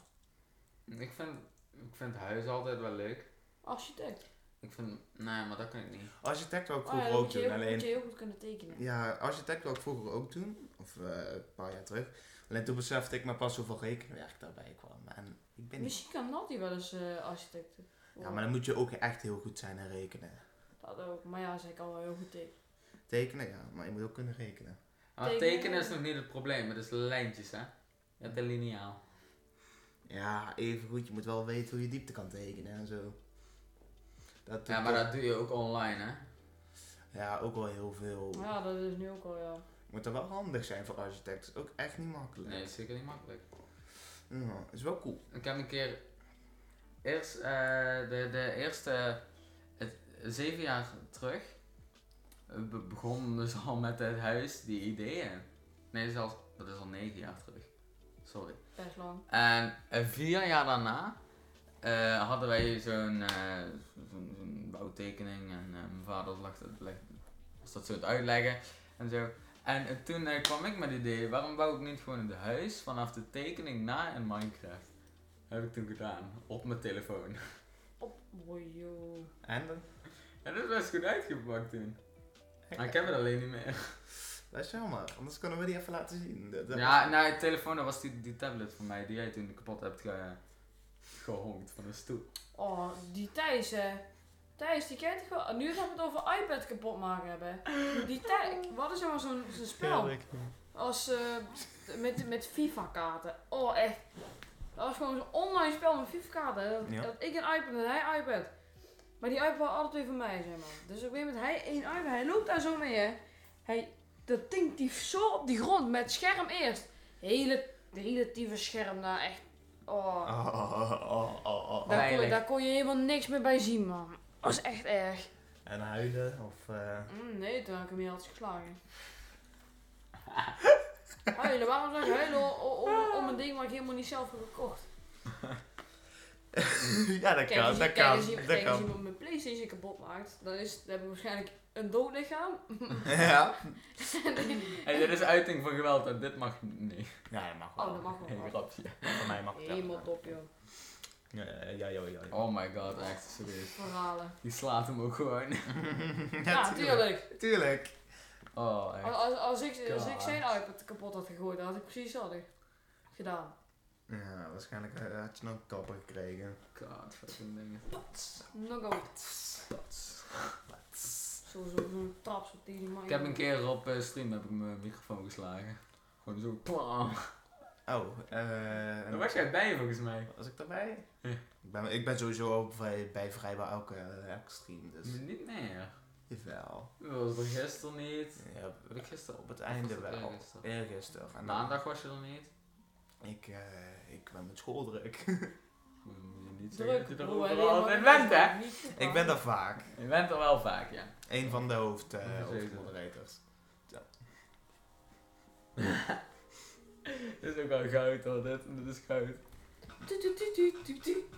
Ik vind, ik vind huis altijd wel leuk. Architect. Ik vind, nee, maar dat kan ik niet. Architect wou ik Ah, ja, vroeger dat ook moet je doen, heel- moet alleen... je heel goed kunnen tekenen. Ja, architect wou ik vroeger ook doen, of eh, een paar jaar terug. Alleen toen besefte ik maar pas hoeveel rekenwerk daarbij kwam. En ik ben niet... Misschien kan Natty wel eens eh architect Oh, Ja, maar dan moet je ook echt heel goed zijn in rekenen. Dat ook. Maar ja, zij kan wel heel goed tekenen. Tekenen, ja, maar je moet ook kunnen rekenen. Maar Tekenen- tekenen is nog niet het probleem, het is lijntjes, hè. Je hebt een lineaal. Ja, even goed, je moet wel weten hoe je diepte kan tekenen en zo. Dat Ja, maar dat doe je ook online, hè. Ja, ook wel heel veel. Maar ja, dat is nu ook al, ja. Moet er wel handig zijn voor architect. Ook echt niet makkelijk. Nee, dat is zeker niet makkelijk. Ja, is wel cool. Ik heb een keer eerst eh, de, de eerste het, zeven jaar terug eh, be- begon dus al met het huis die ideeën. Nee, zelfs dat is al negen jaar terug. Sorry. Best lang. En eh, vier jaar daarna eh, hadden wij zo'n eh, zo- zo'n- zo'n bouwtekening en eh, mijn vader lag dat, leg- was dat zo het uitleggen en zo. En eh, toen eh, kwam ik met het idee, waarom bouw ik niet gewoon het huis vanaf de tekening na in Minecraft? Heb ik toen gedaan, op mijn telefoon. Op, boy, joh. En dan? En dat is best goed uitgepakt toen. Maar ik heb het alleen niet meer. Dat is jammer, anders kunnen we die even laten zien. Dat- dat- Ja, nou, het telefoon dat was die, die tablet van mij die jij toen kapot hebt ge, gehonkt van de stoel. Oh, die Thijs, hè. Thijs, die kent ik wel. Nu gaan we het over iPad kapot maken hebben. Die Thijs, wat is nou zo'n zo'n spel? Als, eh, met, met FIFA-kaarten. Oh, echt. Dat was gewoon zo'n online spel met FIFA-kaarten. Dat, Ja. dat ik een iPad en hij iPad. Maar die iPad was altijd twee van mij, zeg maar. Dus op een gegeven moment, hij één iPad, hij loopt daar zo mee, hè. Hij, dat ding die zo op die grond, met scherm eerst. Hele, hele tieve scherm daar, echt. Oh. Oh, oh, oh, oh, oh. Daar kon, Veilig. daar kon je helemaal niks meer bij zien, man. Dat was echt erg. En huilen, of... eh, Mm, nee, toen heb ik hem hier altijd geslagen. huilen, waarom zou ik huilen o- o- o- om een ding waar ik helemaal niet zelf heb gekocht? ja, dat Kijk, kan, als dat je, kijk, kan, als je, dat kijk, als kan. iemand mijn Playstation kapot maakt, dan, is, dan heb ik waarschijnlijk een dood lichaam. Ja? Hey, dit is uiting van geweld en dit mag niet. Ja, dat mag wel. Oh, dat mag Hey, wel. grapje. Voor mij mag het wel. Helemaal top, joh. Ja, ja, ja, ja, ja. ja. Oh my god, echt serieus. Verhalen. Die slaat hem ook gewoon. Ja, tuurlijk. Tuurlijk. Oh, echt. Als, als, als ik, als ik God. zijn iPad kapot had gegooid, dan had ik precies dat gedaan. Ja, waarschijnlijk eh, had je nog een kapper gekregen. God, fucking dingen. Nog goed. Zo'n zo, zo'n traps op die man. Ik heb een keer op eh, stream heb ik mijn microfoon geslagen. Gewoon zo. Plam. Oh, eh... Daar was jij bij volgens mij. Was ik daarbij? Ja. Ik ben, ik ben sowieso al bij, bij vrijwel elke, elke stream, dus... Niet meer. Jawel. Dat was er gisteren niet. Ja, Wat ik gisteren op het einde Of was het wel. eergisteren? Eergisteren. En dan, Maandag was je er niet. ik, eh, ik ben met school druk. Oh. Hmm, Moet je niet zeggen druk. dat je er broer, overal altijd helemaal niet bent, hè? verwacht. ik ben daar vaak. Je bent er wel vaak, ja. Een van de hoofd, eh, Zeker. hoofdmoderators. Dit is ook wel goud hoor, dit, dit is goud. Tu, tu, tu, tu, tu, tu.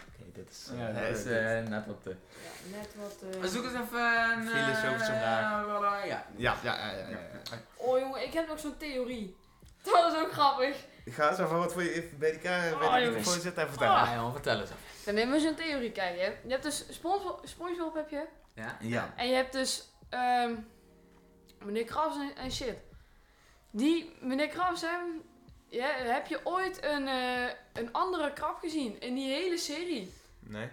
Oké, dit is... Ja, dat is eh, eh, net op de... Ja, net wat. eh, Zoek eens even een... eh, Filosofische vraag. Ja. ja, ja, ja, ja, ja, ja. Oh jongen, ik heb nog zo'n theorie. Dat is ook grappig. Ik ga eens even wat voor je even bij elkaar Oh, bij de jongens. microfoon zitten en vertellen. Ah, jongen, vertel eens even. Dan nemen we zo'n theorie kijken. hè. Je hebt dus Spongebob, SpongeBob heb je. Ja? Ja. En je hebt dus ehm, meneer Krabs en, en shit. Die meneer Krabs, hè, ja, heb je ooit een, eh, een andere krab gezien in die hele serie? Nee?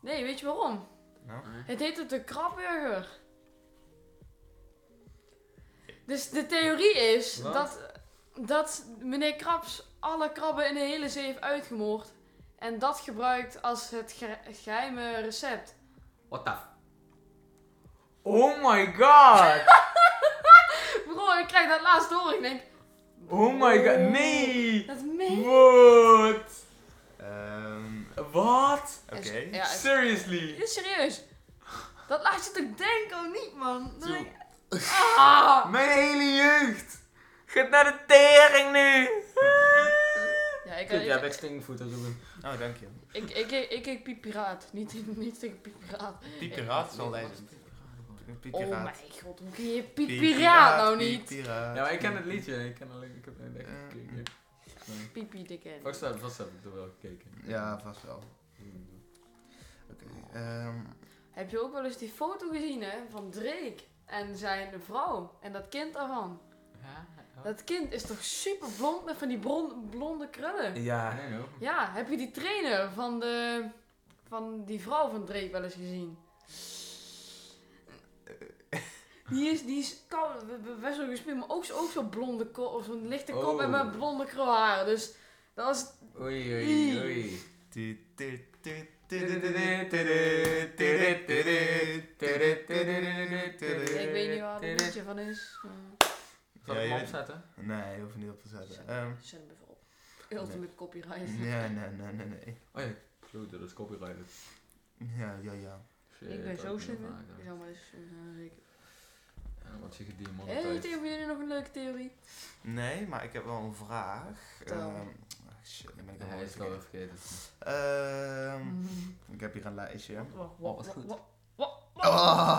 Nee, weet je waarom? Nou? Het heet het de krabburger. Dus de theorie is Wat? dat, dat meneer Krabs alle krabben in de hele zee heeft uitgemoord. En dat gebruikt als het ge- geheime recept. What the f... Oh my god! Bro, ik krijg dat laatst door. Ik denk, Oh my god! Nee! dat meen What? Ehm, Wat? Oké. Ja, het- Seriously? Dit is serieus. Dat laat je toch denken of niet, man? Dan Zo. denk ik, ah. Mijn hele jeugd! Gaat naar de tering nu! Ja, ik, Kut, ja, ik, back stingvoet dat doen. Oh, dank je. ik, ik, ik, ik keek Piet Piraat. Niet, niet tegen Piet Piraat. Piepiraat is wel lezen. Oh Piepiraat. mijn god, hoe kun je Piet Piraat nou niet? Ja, maar ik ken het liedje. Ik ken alleen, ik heb het echt Eh. gekeken. Nee. Piet Piet, ik ken. Vast heb, vast heb ik er wel gekeken. Ja, vast wel. Oké. ehm, Heb je ook wel eens die foto gezien, hè? Van Drake en zijn vrouw. En dat kind daarvan. Ja? Dat kind is toch super blond met van die bron, blonde krullen? Ja. Nee, no. Ja, heb je die trainer van, de, van die vrouw van Drake wel eens gezien? Die is, die is koud, we- we- best wel gespierd, maar ook, zo- ook zo'n blonde kop, of zo'n lichte kop en Oh. met blonde krulhaar. Dus dat is... Oei, oei, oei. tu- tu- tu- tu- tu- tu- tu- tu- tu- tu- tu- tu- tu- tu- Ik Ik weet niet waar het liedje van is. maar- Zal Ja, ik je hem weet- opzetten? Nee, je hoeft er niet op te zetten. Ehm, Zet hem even op. Ultimate copyright. nee, nee, nee, nee, nee. Oh ja. Goed, dat is copyrighted. Ja, ja, ja. Ik ben zo slim, hè. Ik En zou maar eens... eh, zeker. dan wordt je Hé, hey, gedemonetiseerd. hebben jullie nog een leuke theorie? Nee, maar ik heb wel een vraag. Vertel. Ehm, ah, shit, dan ben ik Nee, Hij helemaal is wel weer vergeten. vergeten. Ehm, Mm. Ik heb hier een lijstje. Wat, Ah. Oh, wat goed. Oh,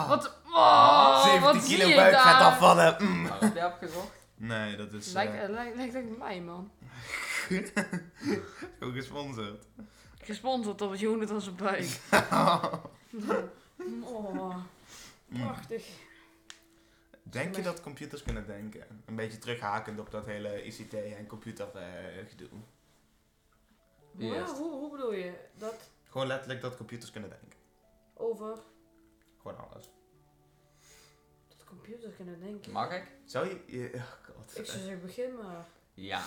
Wat? Oh, 17 wat zie kilo ik buik gaat daar? afvallen. Mm. Maar heb je opgezocht? Nee, dat is Lijkt, eh, eh, lijkt, lijkt, lijkt mij, man. ook gesponsord. Gesponsord op het Jonathan zijn buik. oh, Mm. prachtig. Denk je dat computers kunnen denken? Een beetje terughakend op dat hele ICT en computer eh, gedoe. Wie Hoe- eerst? hoe, hoe bedoel je? Dat Gewoon letterlijk dat computers kunnen denken. over Gewoon alles. dat computers kunnen denken? Mag ik? Zou je... je- oh god. Ik zou zeggen, begin maar. Ja.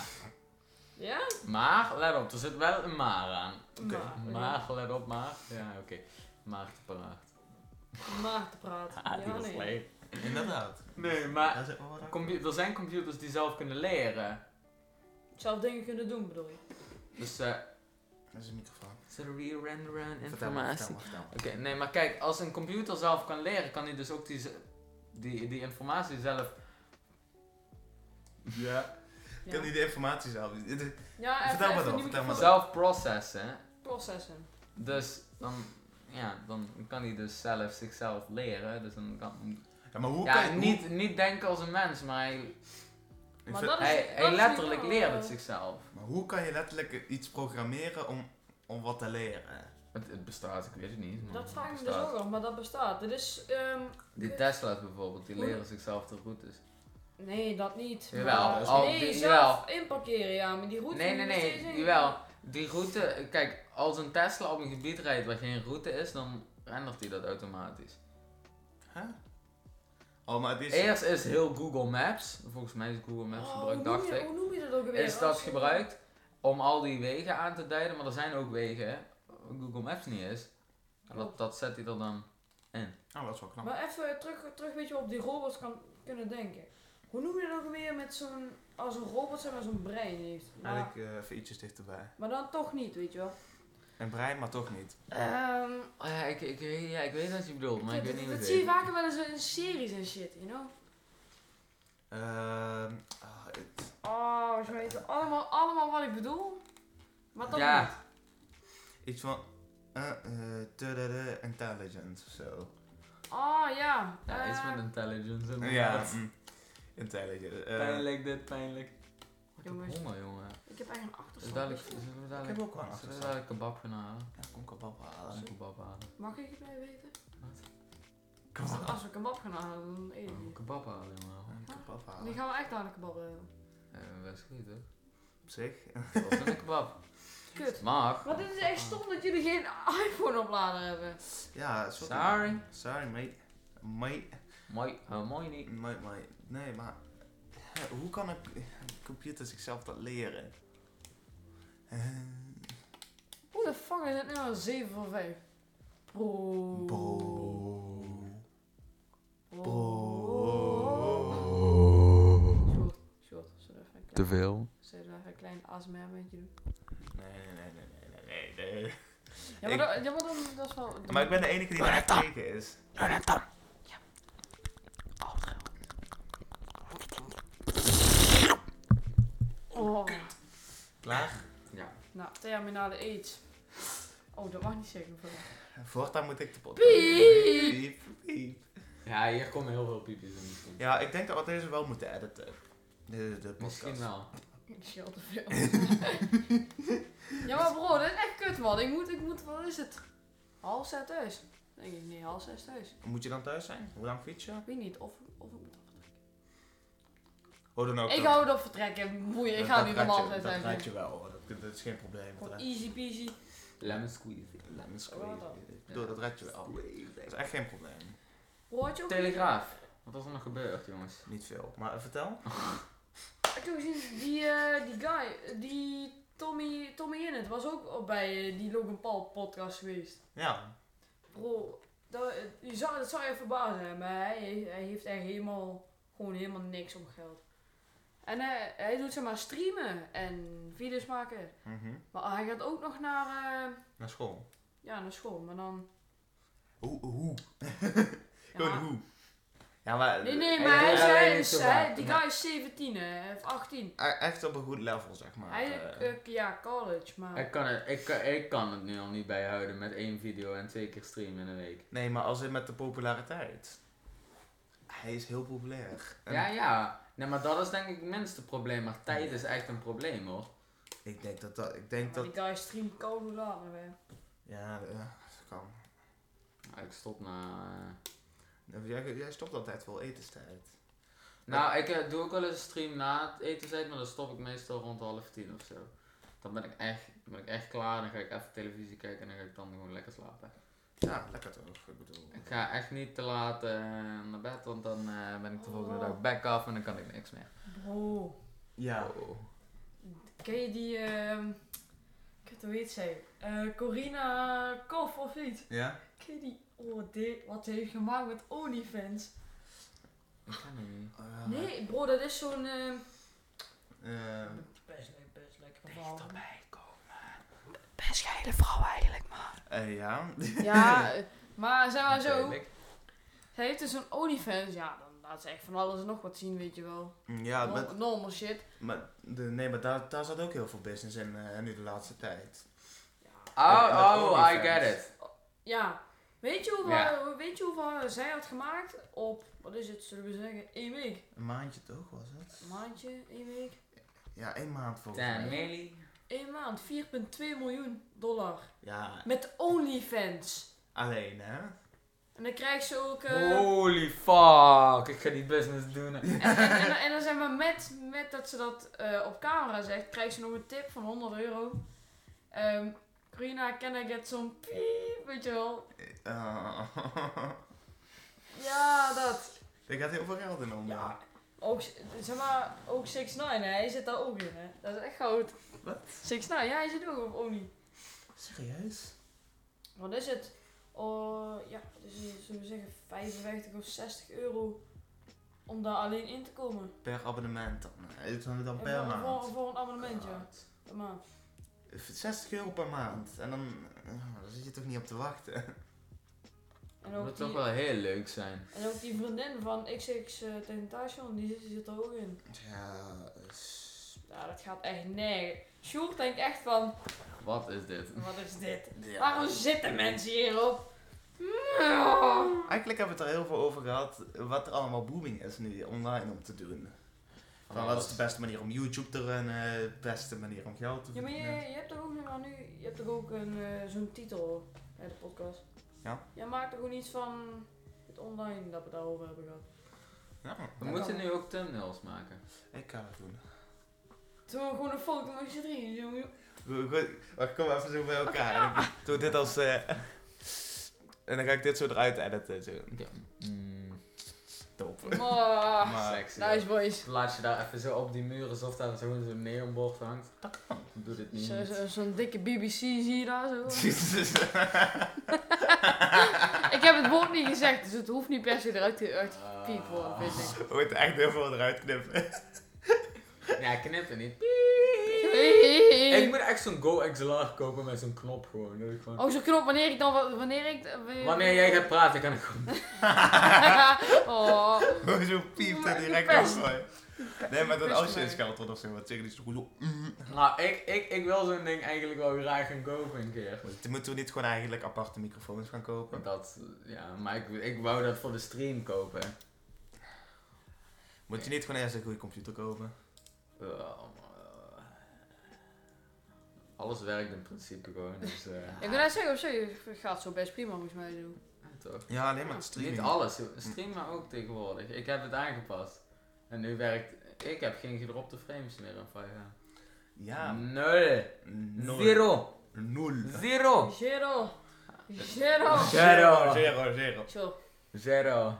Ja? Maar, let op, er zit wel een maar aan. Oké. Maar. Maar, let op, maar. Ja, oké. Maar te paraat. Maar te praten. Ah, die ja, was nee. leuk. Inderdaad. Nee, maar Ja, zeg maar wat dan? compu- er zijn computers die zelf kunnen leren. Zelf dingen kunnen doen, bedoel je? Dus eh, Dat is een microfoon. ze re-renderen aan Vertel maar, informatie. vertel maar, vertel maar. Oké, nee, maar kijk, als een computer zelf kan leren, kan hij dus ook die, z- die, die informatie zelf. Ja. Ik Ja, kan niet de informatie zelf. Dit is- ja even, Vertel maar even dan, een nieuwe vertel maar dan. zelf processen. processen. Dus dan, ja, dan kan hij dus zelf zichzelf leren. Dus dan kan, Ja, maar hoe kan ja, je... niet, niet denken als een mens, maar hij, Hoe, ik Maar vind- dat is- hij, dat hij is letterlijk niet waar. leert het zichzelf. maar hoe kan je letterlijk iets programmeren om, om wat te leren? Het, het bestaat, ik weet het niet. Maar Dat het vraag ik me dus bestaat. ook af, maar dat bestaat. Dit is, ehm, Die Tesla's bijvoorbeeld, die leren zichzelf de routes. nee, dat niet. Jawel, Maar- dat is wel- nee, die- zelf inparkeren, ja, maar die route Nee, moet nee, je steeds in. nee, jawel. Die route, kijk, als een Tesla op een gebied rijdt waar geen route is, dan rendert hij dat automatisch. Huh? Oh, maar het is... Eerst is heel Google Maps, volgens mij is Google Maps Oh, gebruikt, hoe noem dacht je- ik. Hoe noem je dat ook Oh, weer? Is dat Als- gebruikt om al die wegen aan te duiden, maar er zijn ook wegen waar Google Maps niet is. En Dat, dat zet hij er dan. Oh, dat is wel knap. Maar even terug, terug een beetje op die robots kan, kunnen denken. Hoe noem je dat ook weer met zo'n... Als een robot zeg maar zo'n brein heeft. Maar, Eigenlijk eh, even ietsjes dichterbij. maar dan toch niet, weet je wel. Een brein, maar toch niet. Ehm, Oh ja, ik, ik, weet- ja, ik weet wat je bedoelt, maar ik dat weet niet hoe dat het zie je heet. vaker wel eens in series en shit, you know? Ehm, ah, het- Oh, ze weten allemaal, allemaal wat ik bedoel. Maar toch Ja. niet. iets van... eh, eh, tudede, intelligent of zo. Oh, ja. Ja, iets Ehm, met intelligence. Ja, inderdaad. mm, intelligent. eh, Pijnlijk dit, pijnlijk. Ik heb Jongens. honger, jongen. Ik heb eigenlijk een Dus achterstand. dadelijk, zullen we Ik dadelijk, heb ook wel een zullen we achterstand. dadelijk kebab gaan halen? Ja, kom kebab halen. Een kebab halen. Mag ik het mee weten? Als we- Kebab. Als we kebab gaan halen, dan eten we Oh, die. kebab halen, jongen. Een kebab Die halen. gaan we echt aan de kebab hebben. Eh, best goed, hoor. Op zich. Wat is een kebab? Kut. Mag. Maar dit is echt stom dat jullie geen iPhone-oplader hebben. Ja, sorry. Sorry. Sorry, mate. Mate. Mooi, eh, mooi niet. Mate, mate. Nee, maar... hè, Hoe kan een c- computer zichzelf dat leren? Eh, Hoe de fuck is het nou een 7 van 5? Bro. Bo. Te te veel. Zullen we even een klein ASMR-momentje doen? Nee, nee, nee, nee, nee, nee, nee, nee. Ja, maar, Ik- dat, ja, maar dat, dat is wel... dat- Maar ik ben de enige die Maar daar dan- gekeken is. dan. Oh. Klaar? Ja. Nou, terminale AIDS. Oh, dat mag niet zeggen. Voor Voortaan moet ik de podcast. Piep. Piep, piep. Ja, hier komen heel veel piepjes in misschien. Ja, ik denk dat we deze wel moeten editen. De, de Misschien podcast. wel. Ik schil te veel. ja, maar bro, dit is echt kut, man. Ik moet, ik moet, wat is het? Half zes thuis. Denk ik, nee, half zes thuis. Moet je dan thuis zijn? Hoe lang fiets je? Ik weet niet, of, of ik moet afvertrekken. Oh, dan ook. Ik dat- hou het op vertrekken, moeie. Ik dat- ga dat nu raad je- normaal zes Dat raad thuis. je doen. wel hoor. Dat, dat is geen probleem. Dat Gewoon raad- easy peasy. Lemon squeeze. Lemon Wat squeeze. dan? Ik bedoel, dat red je wel. Dat is echt geen probleem. Hoor je ook? Telegraaf. Wat is er nog gebeurd, jongens? Niet veel. Maar eh, vertel. Heb je ook gezien, die, eh, die guy, eh, die Tommy, Tommy Innit, was ook op bij eh, die Logan Paul podcast geweest. Ja. Bro, dat, je zou, dat zou je verbazen, hè, maar hij, hij heeft echt helemaal, gewoon helemaal niks om geld. En eh, hij doet zeg maar streamen en video's maken. Mhm. Maar hij gaat ook nog naar, eh, Naar school. ja, naar school, maar dan... Hoe? Hoe? Ja, Gewoon hoe? Ja, maar... Nee, nee, Hij maar hij, doet zei- alleen niet zo zei- vaak, die maar- guy is 17 hè, of 18. E- Echt op een goed level, zeg maar. Hij, Eh, eh, ja, college, maar... Ik kan, het, ik, kan- ik kan het nu al niet bijhouden met één video en twee keer streamen in een week. Nee, maar als in met de populariteit. Hij is heel populair. En Ja, ja. Nee, maar dat is denk ik het minste probleem. Maar tijd is echt een probleem, hoor. Ik denk dat dat... Ik denk maar dat... die guy streamt koude later, hè. Ja, eh, dat kan. Ah, Ik stop na... eh, Nou, Jij, jij stopt altijd wel etenstijd. Nou, ik eh, doe ook wel eens een stream na het etenstijd, maar dan stop ik meestal rond half tien of zo. Dan ben ik echt, dan ben ik echt klaar, dan ga ik even televisie kijken en dan ga ik dan gewoon lekker slapen. Ja, lekker toch. Ik bedoel... Ik ga echt niet te laat eh, naar bed, want dan eh, ben ik de volgende Oh. dag back af en dan kan ik niks meer. Bro. Ja. Oh, Ken je die, ehm ik weet hoe heet zij, Eh, Corina Kof of niet? Ja? Ken je die, oh dit, wat ze heeft gemaakt met OnlyFans? Ik ga niet. Eh, Nee bro, dat is zo'n, ehm eh, best leuk, best lekker verhaal. Dichterbij komen. Best geile vrouw eigenlijk maar. Eh, ja. Ja, eh, maar zeg maar zo, Natuurlijk. zij heeft dus een OnlyFans, ja dan laat ze echt van alles en nog wat zien weet je wel. Ja, Nor- maar, Normal shit. maar, de, nee, maar daar, daar zat ook heel veel business in eh, nu de laatste tijd. Oh, Met- met oh, I OnlyFans. get it. Ja, weet je hoeveel, Ja. weet je hoeveel zij had gemaakt op, wat is het, zullen we zeggen, één week? Een maandje toch, was het? Een maandje, één week? Ja, één maand volgens Damn, mij. Millie. Eén maand 4,2 miljoen dollar. Ja, Met OnlyFans. alleen hè? En dan krijgt ze ook. eh, Holy fuck, ik ga die business doen. en, en, en, en dan zeg maar met, met dat ze dat eh, op camera zegt, krijgt ze nog een tip van 100 euro. Ehm Corina, can I get some piep? Weet je wel. Eh, Ja, dat. Er gaat heel veel geld in om. Ja. Ook, zeg maar, ook 6 9 hij zit daar ook in, hè. Dat is echt goud. Wat? 6 9 ja, hij zit ook op Only. Serieus? Wat is het? Oh, ja, dus zullen we zeggen 55 of 60 euro om daar alleen in te komen. Per abonnement dan. Eh, is het dan per Ja, voor, Voor, maand. voor een abonnement, ja. Per maand. 60 euro per maand. En dan, eh, daar zit je toch niet op te wachten. En Dat ook, moet die, toch wel heel leuk zijn. en ook die vriendin van XX eh Tentation, die zit, die zit er ook in. Ja, s- Ja, dat gaat echt nergens. Sjoerd denkt echt van, Wat is dit? wat is dit? ja. Waarom zitten mensen hierop? Mm. Eigenlijk hebben we het er heel veel over gehad. Wat er allemaal booming is nu online om te doen. Van wat is de beste manier om YouTube te runnen? De beste manier om geld te Ja, maar je, verdienen? je hebt toch ook, maar nu, je hebt toch ook een, eh, zo'n titel bij de podcast? Ja. Jij maakt toch ook iets van het online dat we daarover hebben gehad? Ja, We moeten nu ook thumbnails maken. ik ga dat doen. Toen we gewoon een foto met z'n drieën. jongen. Goed, goed. Wacht, kom even zo bij elkaar. En dan Doe dit als... eh, en dan ga ik dit zo eruit editen. Zo. Mm. Top. Maar, Maar, Sexy. Ah, nice boys. Laat je daar even zo op die muur alsof daar zo'n zo'n neonbord hangt. Doe dit niet. Zo- zo- Zo'n dikke BBC zie je daar zo. Jezus. Ik heb het woord niet gezegd, dus het hoeft niet per se eruit te uit te Ah. piepen worden, vind ik. We moeten echt heel veel eruit knippen. Ja, knip het niet. Ik moet echt zo'n Go XLR kopen met zo'n knop gewoon. Dat ik gewoon... Oh, zo'n knop wanneer ik dan... wa- Wanneer ik... wa- Wanneer jij gaat praten, kan ik gewoon. oh. zo piept Maar er die direct pest. af. hoor. Nee, maar dat pest als je mij. een skelter of zo wat zeggen, dus die is toch goed. Nou, ik, ik, ik wil zo'n ding eigenlijk wel graag gaan kopen een keer. Dan moeten we niet gewoon eigenlijk aparte microfoons gaan kopen. Dat, ja, maar ik, ik wou dat voor de stream kopen. Moet je niet gewoon eerst een goede computer kopen? Eh, eh, alles werkt in principe gewoon, dus eh, Ik wil net zeggen, op zich gaat zo best prima volgens mij doen. toch. Ja, alleen maar het streamen. Niet alles, streamen ook tegenwoordig. Ik heb het aangepast. En nu werkt, ik heb geen gedropte frames meer in 5 Ja, Nul. nul. Zero. Nul. Zero. Zero. Zero. Zero. Zero, zero. Zo. Zero.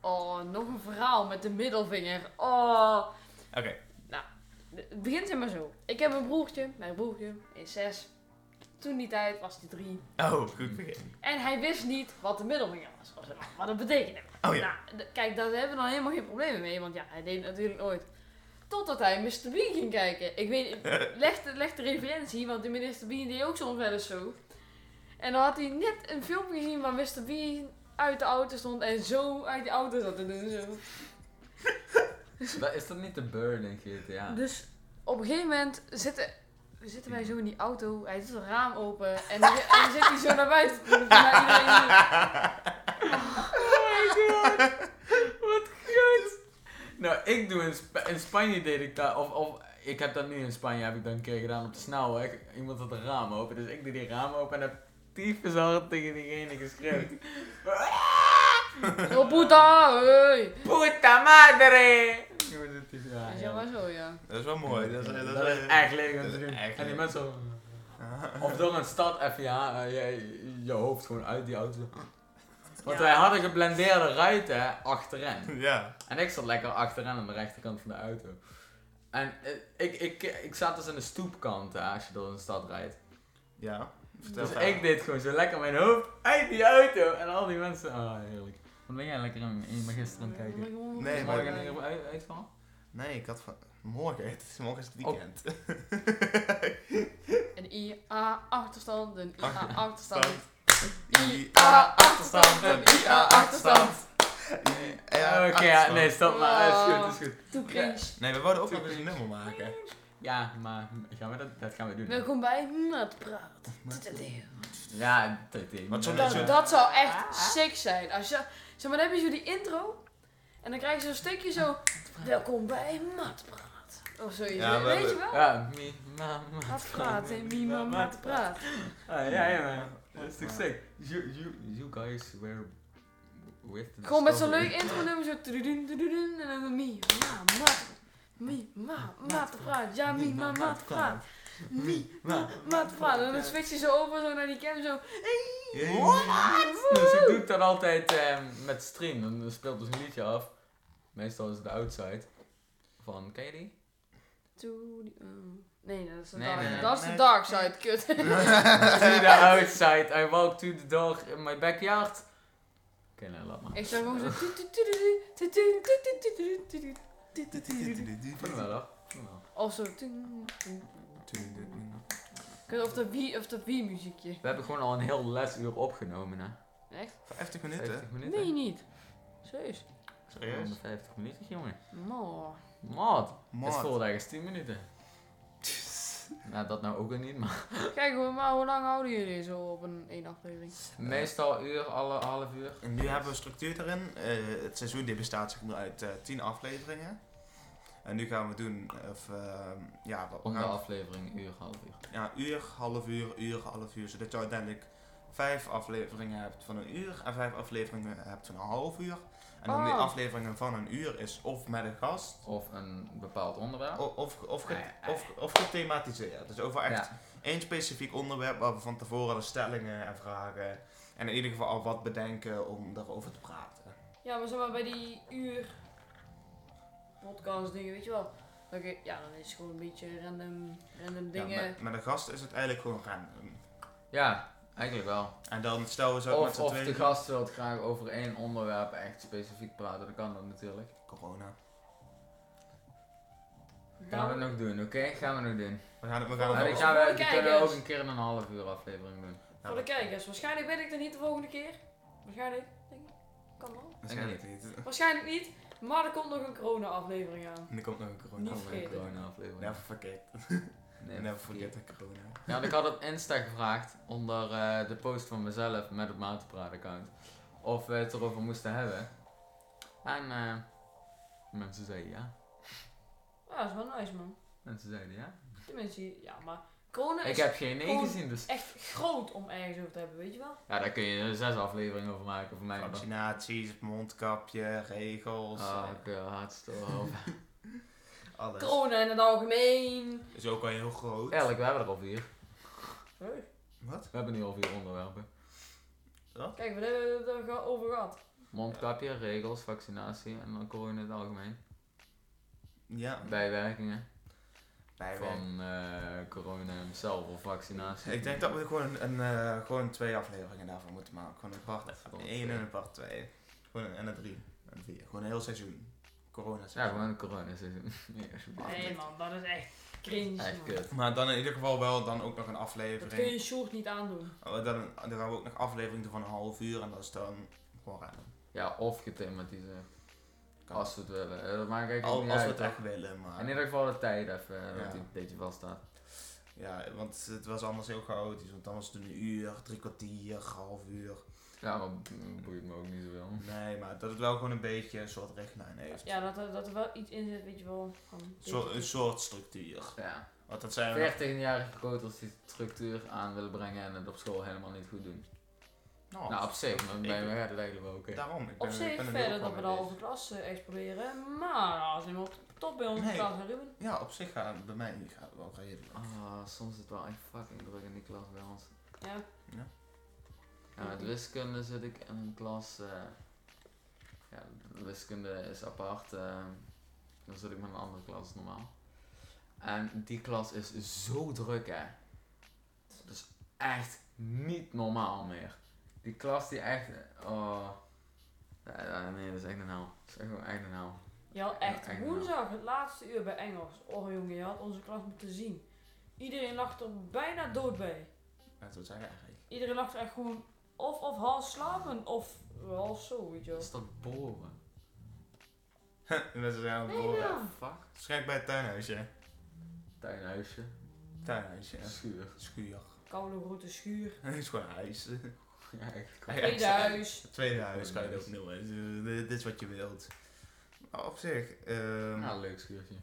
Oh, nog een verhaal met de middelvinger. Oh. Oké. Het begint helemaal zo. Ik heb een broertje. Mijn broertje is zes. Toen die tijd was hij drie. Oh, goed begin. En hij wist niet wat de middelvinger was. Of wat dat betekende. Oh ja. Nou, d- kijk, daar hebben we dan helemaal geen problemen mee. Want ja, hij deed het natuurlijk nooit. Totdat hij Mr. Bean ging kijken. Ik weet leg, de- leg de referentie, want de Mr. Bean deed ook soms wel eens zo. En dan had hij net een filmpje gezien waar Mr. Bean uit de auto stond en zo uit die auto zat te doen. Zo. Wa- Is dat niet de bird in GTA? Dus op een gegeven moment zitten, zitten wij zo in die auto. Hij doet het raam open en dan, en dan zit hij zo naar buiten. te doen, naar iedereen toe. Oh Wat goed! Nou, ik doe in, Sp- in Spanje deed ik dat, of, of ik heb dat nu in Spanje, heb ik dat een keer gedaan op de snelweg. Iemand had een raam open, dus ik deed die raam open en heb tyfus hard tegen diegene geschreeuwd. Yo, puta, hey. Puta madre! Jongens, dit is- ja, Ja, ja. maar zo, ja. Dat is wel mooi. Dat is, dat is, Dat is echt leuk om dat te is doen. echt En die leuk. mensen... zo- Of door een stad even, ja, eh, je, je hoofd gewoon uit die auto. Want Ja. wij hadden geblendeerde ruiten achterin. Ja. En ik zat lekker achteraan aan de rechterkant van de auto. En eh, ik, ik, ik zat dus aan de stoepkant hè, als je door een stad rijdt. Ja. Vertel Dus verder. ik deed gewoon zo lekker mijn hoofd uit die auto. En al die mensen, ah heerlijk. Wat ben jij lekker in, in magister aan het kijken? Nee, Is maar- morgen een uit, uitval? Nee, ik had van... Morgen. Het is, morgen is het Oh. weekend. Een IA-achterstand, een IA-achterstand. Stand. IA-achterstand, een IA-achterstand. Ja, Oké, ja, nee, stop maar. Is Oh. goed, is goed. Toen cringe. Nee, we wouden ook nog eens een nummer maken. Ja, maar gaan we dat, dat gaan we doen. Welkom bij Nat Praat. Ja, dat deed ik. Wat zo'n- Dat, dat zou Ah, echt sick zijn. Als je, zeg maar, dan heb je zo die intro. En dan krijg je zo'n stukje zo. Welkom bij Nat Praat. Of zoiets. Ja, Weet- maar- Weet je wel? Ja, mi, ma, ma. Nat Praat en Mima Nat Praat. Ah, ja, ja, man. Dat is toch sick. You, you, you guys were with the Gewoon met zo'n discovery. leuk intro nummer zo. tududun, tududun, En dan Mima Nat. Mima Nat Praat. Ja, Mima Nat Praat. Mima Nat Praat. En dan switch je zo over zo naar die cam zo. Dus ik doe ik dat altijd ehm, met stream. Dan speelt dus een liedje af. Meestal is het de outside. Van, ken je die? To the- oh. Nee, dat is de Nee, dark. nee, nee. dat is de Nee. dark side, kut. to the outside, I walk to the dog in my backyard. Oké, nou, laat maar. ik zou gewoon zo. Vond hem wel, hoor. Vond hem wel. Of zo. Kut, Of dat wie, of dat wie muziekje. We hebben gewoon al een heel lesuur opgenomen, hè. Echt? 50 minuten? 50 minuten. Nee, niet. Serieus. Serieus? 50 minuten, jongen. Maar. Maat. Het is Maat. volgende dag is 10 minuten. Nou, dat nou ook weer niet, maar... Kijk, hoe- maar hoe lang houden jullie zo op een één aflevering? Meestal uur, alle half uur. En Nu hebben we structuur erin. Eh, het seizoen dit bestaat zeg maar uit eh 10 afleveringen. En nu gaan we doen, of, ehm, ja, wat we Om de gaan- aflevering, uur, half uur. ja, uur, half uur, uur, half uur. Zodat je uiteindelijk vijf afleveringen hebt van een uur en vijf afleveringen hebt van een half uur. En dan Oh. die Ah. afleveringen van een uur is of met een gast, Of een bepaald onderwerp. o- of, of, ge- Ah, Oh. ja, of, of gethematiseerd. Dus over echt Ja. één specifiek onderwerp waar we van tevoren de stellingen en vragen en in ieder geval al wat bedenken om daarover te praten. Ja, maar zeg maar bij die uur. podcast dingen, weet je wel. Oké, ja, dan is het gewoon een beetje random, random Ja, dingen. met, met een gast is het eigenlijk gewoon random. Ja, eigenlijk wel. En dan stel we zo met Of, z'n of de tweeën... gast wil graag over één onderwerp echt specifiek praten, dan kan dat natuurlijk. Corona. Gaan we het nog doen, oké? Gaan we nog doen. We gaan het, we gaan het Maar Oh, ik nog- ga, voor de we, we kunnen kijkers. ook een keer een half uur aflevering doen. Voor de kijkers. Waarschijnlijk ben ik er niet de volgende keer. Waarschijnlijk. Denk ik. Kan wel. Waarschijnlijk niet. Waarschijnlijk niet. Maar er komt nog een corona-aflevering aan. En er komt nog een corona. Niet Een vergeten. corona aflevering. Never forget. Nee, Never forget the corona. Ja, want ik had op Insta gevraagd, onder eh, de post van mezelf met het Matenpraat-account, of we het erover moesten hebben. En eh, mensen zeiden ja. Ah, dat is wel nice, man. Mensen zeiden ja. Tenminste, ja, maar corona Ik is heb geen nee gewoon- gezien, dus... echt groot om ergens over te hebben, weet je wel? Ja, daar kun je zes afleveringen over maken voor mij. maar- Vaccinaties, mondkapje, regels. Ah, eh, ik wil hartstikke alles. Corona in het algemeen. Is ook al heel groot. Eerlijk, we hebben er al vier. Huh? Wat? We hebben nu al vier onderwerpen. Kijk, we hebben het er ge- over gehad. Mondkapje, regels, vaccinatie en dan corona in het algemeen. Ja. Bijwerkingen Bijwerk. van eh, corona hemzelf of vaccinatie. Ik denk dat we gewoon, een, eh, gewoon twee afleveringen daarvan moeten maken. Gewoon een part Gewoon 1 twee. en een part 2. Gewoon een, en een 3. En vier. Gewoon een heel seizoen. Corona Ja, seizoen. gewoon het coronaseizoen. Nee, alsjeblieft. Nee, man, dat is echt cringe. Echt man. kut. Maar dan in ieder geval wel dan ook nog een Dat kun aflevering. je Sjoerd niet aandoen. Oh, Dan, dan gaan we ook nog afleveringen van een half uur en dat is dan gewoon random. Ja, of gethematiseerd. Kan. Als we het willen. Eh, Dat maakt eigenlijk Al- niet als we uit. het echt willen, maar... In ieder geval de tijd even, eh, Ja. dat die een beetje vaststaat. Ja, want het was anders heel chaotisch. Want dan was het een uur, drie kwartier, half uur. Ja, maar mm, boeit me ook niet zoveel. Nee, maar dat het wel gewoon een beetje een soort richtlijn heeft. Ja, dat, er- dat er wel iets in zit, weet je wel. Van, Zo, een soort structuur. Ja. Want dat zijn we nog- 14-jarige koters die structuur aan willen brengen en het op school helemaal niet goed doen. Nou, nou, op zich, maar ik- bij mij gaat het eigenlijk wel oké. Daarom, ik ben, Op ik ben zich er verder heel dat we blij dat mee over klas eh, exploreren. Maar ah, als iemand top bij ons Nee. klas gaat doen. bezig. Ja, op zich gaat bij mij gaat het wel redelijk. Ah, soms is het wel echt fucking druk in die klas bij ons. Ja. Ja. Ja, met wiskunde zit ik in een klas. eh, ja, wiskunde is apart. eh, dan zit ik met een andere klas normaal. En die klas is zo druk, hè. Dat is echt niet normaal meer. Die klas die echt. Oh. Nee, nee, nee, dat is echt een hel. Dat is echt, gewoon echt een hel. Je had echt Ja, woensdag het laatste uur bij Engels. Oh jongen, je had onze klas moeten zien. Iedereen lag er bijna dood bij. Dat zou zeggen eigenlijk. Iedereen lag er echt gewoon of, of half slapen of half zo, weet je wel. Dat is toch boren? En Mensen zijn aan het Nee, boren. ja. Fuck. Schrik bij het tuinhuisje. Tuinhuisje. Tuinhuisje. Schuur. Schuur. Koude grote schuur, Het is gewoon huis. Ja, echt. Ja, tweede exact. huis. Het tweede huis kan je het opnieuw in. Eh, Dit is wat je wilt. Maar op zich, ehm, Ja, leuk schuurtje.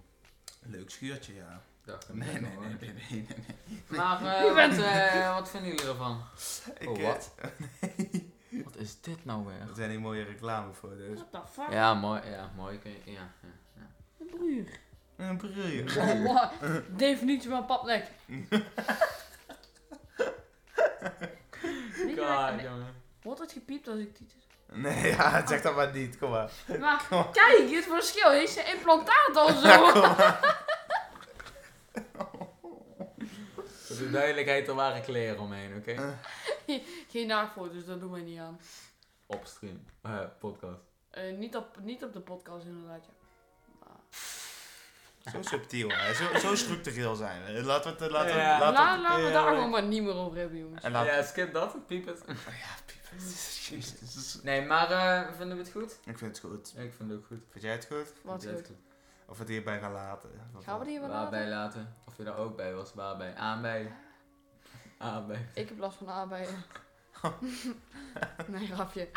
leuk schuurtje, ja. Dacht ik Nee, net nee, nog, nee, hoor. nee, nee. nee. Maar eh, wat, eh, wat vinden jullie ervan? Ik, Oh, eh, wat? Wat is dit nou weer? Dat zijn die mooie dus. reclamefoto's. What the fuck? Ja, mooi. Ja, mooi. kun je- Ja, ja, ja. Een broer. Een briljant. Oh, Definitie van papnek. Weet je wat ik- jongen. Wordt het gepiept als ik dit... Nee, ja, zeg dat maar niet. Kom maar. Maar kijk, het verschil. Heeft ze implantaat al zo? Voor de duidelijkheid, er waren kleren omheen, oké? Geen naagfoto's, dat doen wij niet aan. Op stream. Eh, podcast. Eh, niet, op, niet op de podcast inderdaad, ja. Maar- Zo subtiel, hè. Zo, zo structureel zijn we. Laten we het... eh, Laten we, Ja. laten Laat, het- laten we eh, daar gewoon maar niet meer over hebben, jongens. En laat... Ja, skip dat. Piep het. Oh ja, piep. Jezus. Nee, maar eh, vinden we het goed? Ik vind het goed. Ik vind het ook goed. Vind jij het goed? Wat Vind jij goed. het Of we het hierbij gaan laten? Gaan we die hier wel Waarbij laten? laten. Of je daar ook bij was. Waarbij. Aan bij. Aan Ah, bij. Ik heb last van aardbeien. E. nee, grapje.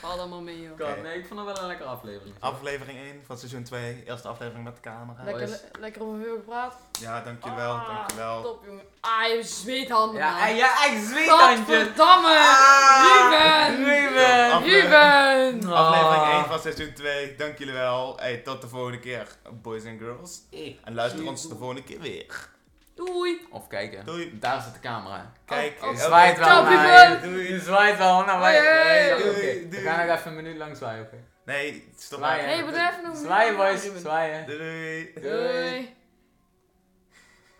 Val allemaal mee, joh. God, nee, ik vond het wel een lekkere aflevering. Aflevering 1 van seizoen 2. Eerste aflevering met de camera. Lekker, Boys. le- lekker over veel gepraat. Ja, dankjewel. Ah, dankjewel. Top, jongen. Ah, je zweethanden, Ja, en man. ja, echt zweethandje. Godverdamme! Ah! Ruben! Ruben! Af- Ruben! Ah. Aflevering 1 van seizoen 2. Dank jullie wel. Hey, tot de volgende keer, boys and girls. En luister ons de volgende keer Oh, weer. Doei! Of kijken. Doei. Daar zit de camera. Kijk, eh, Oh, oh. Je elke- zwaait wel Ciao, naar people. je. Je zwaait wel naar mij. Hey, Nee, oké. doei, We doei. gaan nog even een minuut lang zwaaien, oké? Nee, stop Zwaaien. maar. Hey, bedoel even nog Zwaaien, meer. boys. Zwaaien. Doei, doei. Doei. Doei.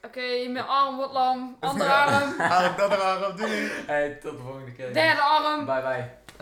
Oké, mijn arm wordt lam. Andere arm. Haal ik dat eraan op. Doei. Hey, tot de volgende keer. Derde arm. Bye bye.